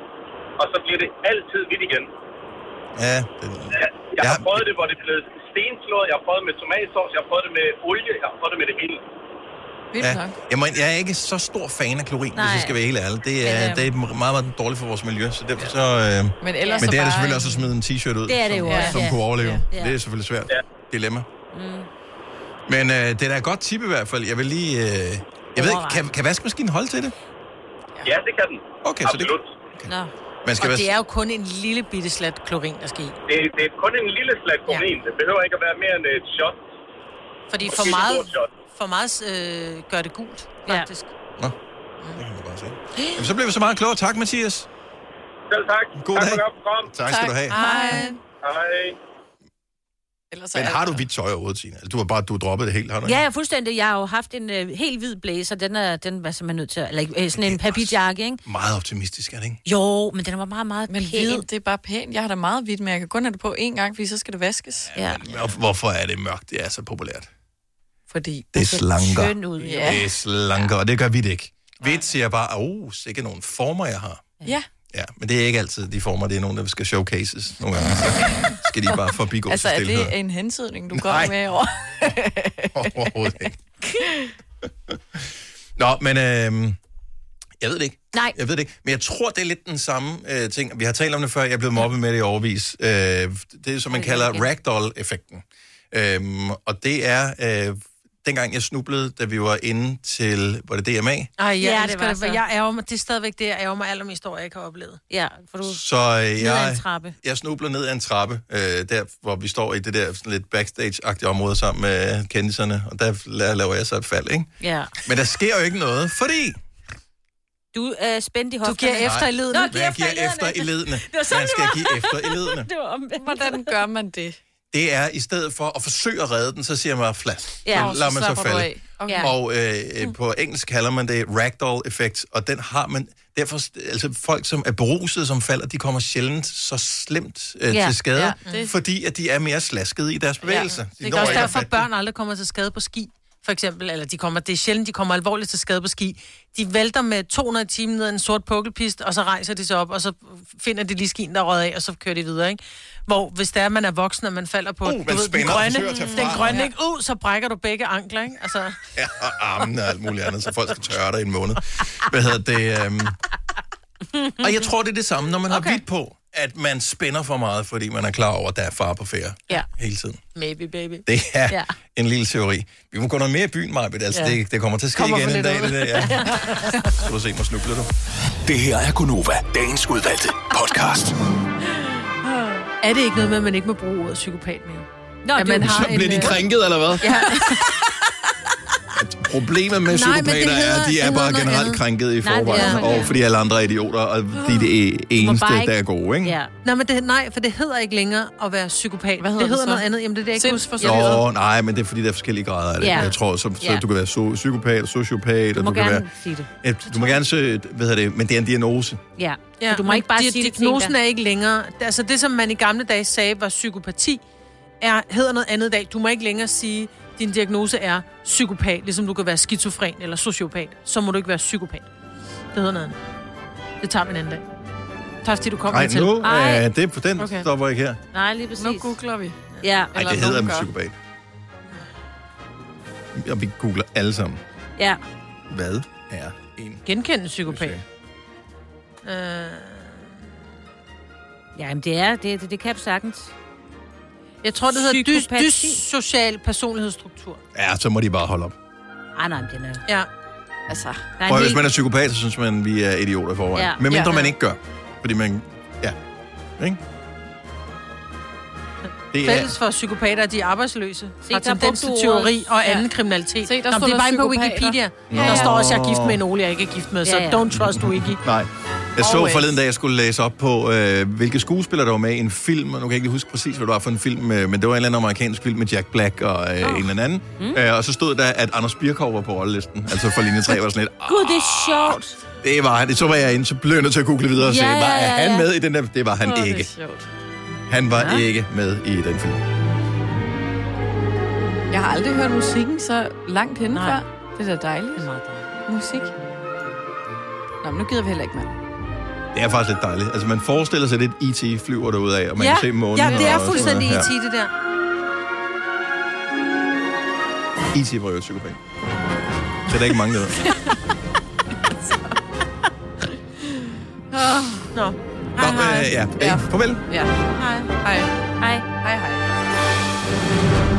og så bliver det altid hvidt igen. Ja, Ja, jeg har prøvet det, hvor det blev stenslået, jeg har prøvet det med tomatsauce, jeg har prøvet det med olie, jeg har prøvet det med det hele. ja. Jeg, må, ind- jeg er ikke så stor fan af klorin, Nej. hvis Nej. jeg skal være helt ærlig. Det er, Men, men, øhm, øh... det er meget, meget dårligt for vores miljø, så derfor så... Øh, Men ellers men så det er bare det selvfølgelig en- også at smide en t-shirt ud, Det er det som, jo også, som ja. kunne overleve. Ja. Ja. Det er selvfølgelig svært. Ja. Dilemma. Mm. Men øh, det er da et godt tip i hvert fald. Jeg vil lige... Øh, jeg ved ikke, kan, kan vaskemaskinen holde til det? Ja, det kan den. Okay, så det, Nå. Man skal og være- det er jo kun en lille bitte slat klorin, der skal i. Det, det er kun en lille slat klorin, ja. det behøver ikke at være mere end et shot. Fordi Måske for et meget, stort shot. for meget øh, gør det gult, faktisk. Jamen, så blev vi så meget klogere. Tak, Mathias. Selv tak. God tak dag. for at Tak skal du have. Hej. Hej. Ellers Men har du hvidt tøj overhovedet, Signe? Altså, du har bare du har droppet det helt, har du Ja, ja, fuldstændig. Jeg har jo haft en øh, helt hvid blæser. Den er, den var simpelthen nødt til at... Eller ikke, øh, sådan en papirjakke, ikke? ikke? Meget optimistisk, er det ikke? Jo, men den var meget, meget Men hvid, det er bare pænt. Jeg har da meget hvidt, men jeg kan kun have det på én gang, fordi så skal det vaskes. Ja. Og Hvorfor er det mørkt? Det er så populært. Fordi Det er slanker. Skøn ud, ja. ja. Det er slanker, og det gør vi det ikke. Hvidt siger bare, at oh, sikkert nogle former, jeg har. Ja. Ja, men det er ikke altid de former, det er nogen, der skal showcases nogle gange. Så skal de bare forbigå altså, altså, er stillhed. det en hentydning, du går med over? Overhovedet ikke. Nå, men øh, jeg ved det ikke. Nej. Jeg ved det ikke. Men jeg tror, det er lidt den samme øh, ting. Vi har talt om det før, jeg er blevet mobbet med det i overvis. Øh, det er, som man kalder ragdoll-effekten. Øhm, og det er, øh, dengang jeg snublede, da vi var inde til, var det DMA? Ej, jeg Ja, ja, det elsker var det, for så. jeg ærger mig, det er stadigvæk det, jeg ærger mig allermest over, jeg ikke har oplevet. Ja, for du... Så Ned øh, ad en jeg, trappe. jeg snubler ned ad en trappe, øh, der hvor vi står i det der sådan lidt backstage-agtige område sammen med kendiserne, og der la- laver jeg så et fald, ikke? Ja. Men der sker jo ikke noget, fordi... Du er øh, spændt i hofterne. Nej. Nå, Hvad jeg giver efter i ledene. Det var sådan, Man det skal var. give efter i ledene. Det var omvendt. Hvordan gør man det? Det er, i stedet for at forsøge at redde den, så siger man bare flat. Ja, Ja, og så så lader man så slapper du falde. af. Okay. Okay. Og øh, øh, på engelsk kalder man det ragdoll-effekt, og den har man... Derfor, altså folk, som er beruset, som falder, de kommer sjældent så slemt øh, Ja, til skade, ja. ja. fordi at de er mere slaskede i deres bevægelser. Ja. Det er også derfor, at børn aldrig kommer til skade på ski, for eksempel. Eller de kommer, det er sjældent, de kommer alvorligt til skade på ski. De vælter med 200 timer ned ad en sort pukkelpist, og så rejser de sig op, og så finder de lige skien, der er røget af, og så kører de videre, ikke? Hvor hvis det er, man er voksen, og man falder på Uh, du man den spænder og grønne, forsøger at tage fra. den grønne Ja. ikke? Uh, så brækker du begge ankler, ikke? Altså, Ja, og armene og alt muligt andet, så folk skal tørre dig i en måned. Hvad hedder det? Øhm... Og jeg tror, det er det samme, når man har okay. hvidt på, at man spænder for meget, fordi man er klar over, at der er far på færre ja, hele tiden. maybe baby. Det er ja. en lille teori. Vi må gå noget mere i byen, Majbet. Altså, Ja. ja. det, det kommer til at ske Kommer igen for en dag, lidt det ud. der. Ja. Skal du se mig snuble, du. Det her er Gunova, dagens udvalgte podcast. Er det ikke noget med, at man ikke må bruge ordet psykopat mere? Nå, at man Så bliver de øh, krænket, eller hvad? Ja. Problemet med Nej, men det psykopater er, at de hedder- er det bare hedder noget generelt andet. krænket i Nej, det er forvejen, noget andet. Uh, og fordi alle andre er idioter, og de er det eneste, der er gode, ikke? Ja. Nej, men det, nej, for det hedder ikke længere at være psykopat. Hvad hedder det det hedder så? noget andet. Jamen, det er det, jeg ikke husker. Nå, nej, men det er fordi, der er forskellige grader af det. Ja. Jeg tror, så, så Ja. du kan være so- psykopat, sociopat, Du og må du kan være... gerne sige det. Ja, du må gerne søge, hvad hedder det, men det er en diagnose. Ja. Ja, Du må ikke bare men sige det til en, diagnosen der- er ikke længere... Altså det, som man i gamle dage sagde var psykopati, er, hedder noget andet i dag. Du må ikke længere sige, din diagnose er psykopat, ligesom du kan være skizofren eller sociopat. Så må du ikke være psykopat. Det hedder noget andet. Det tager vi en anden dag. Tak fordi du kom Nej, hertil. nu Ej. er det på den, Okay. okay. stopper ikke her. Nej, lige præcis. Nu googler vi. Ja. Nej, det hedder en psykopat. Og vi googler alle sammen. Ja. Hvad er en... Genkende en psykopat. Øh, Ja, jamen det er, det, det, det kan du sagtens. Jeg tror, det hedder dys, Psykopati. dyssocial personlighedsstruktur. Ja, så må de bare holde op. Ej, nej, men den er... Ja. Altså, der er Prøv, en hvis hel... man er psykopat, så synes man, vi er idioter i forvejen. Ja. Ja. Men mindre Ja. man ikke gør. Fordi man... Ja. Ikke? Det er... Fælles for psykopater, at de er arbejdsløse. Se, har der tendens til brugte du teori ordet. og anden Ja. ja. kriminalitet. Se, der Nå, men stod det er der bare inde på psykopater. Wikipedia. Nå. Der står også, at jeg er gift med en Ole, jeg ikke er gift med, så Ja, ja. don't trust Wiki. Nej. Jeg så Always. forleden, da jeg skulle læse op på, øh, hvilke skuespillere der var med i en film, og nu kan jeg ikke lige huske præcis, hvad det var for en film, øh, men det var en eller anden amerikansk film med Jack Black og øh, oh. en eller anden. Mm. Øh, og så stod der, at Anders Birkow var på rollelisten, altså for linje 3 var sådan lidt, Gud, det er sjovt. "Ah, det var han, så var jeg inde, så blev jeg nødt til at google videre og Ja, se, ja, var er ja, han ja. med i den der? Det var han Åh, det er ikke. sjovt. Han var Nå. ikke med i den film. Jeg har aldrig hørt musikken så langt henne før. Det er da dejligt. Det er meget dejligt. Musik. Nå, men nu gider vi heller ikke mere. Det er faktisk lidt dejligt. Altså, man forestiller sig lidt, IT flyver derude af, og man kan se månen. ja, det er og sådan fuldstændig E noget. IT, det der. Ja. IT E var jo et psykopat. Så der er ikke mange, der ved. Åh, Nå. Hej, Nå, øh, ja. Hey, farvel. Ja. Hej. Hej. Hej. Hej, hej.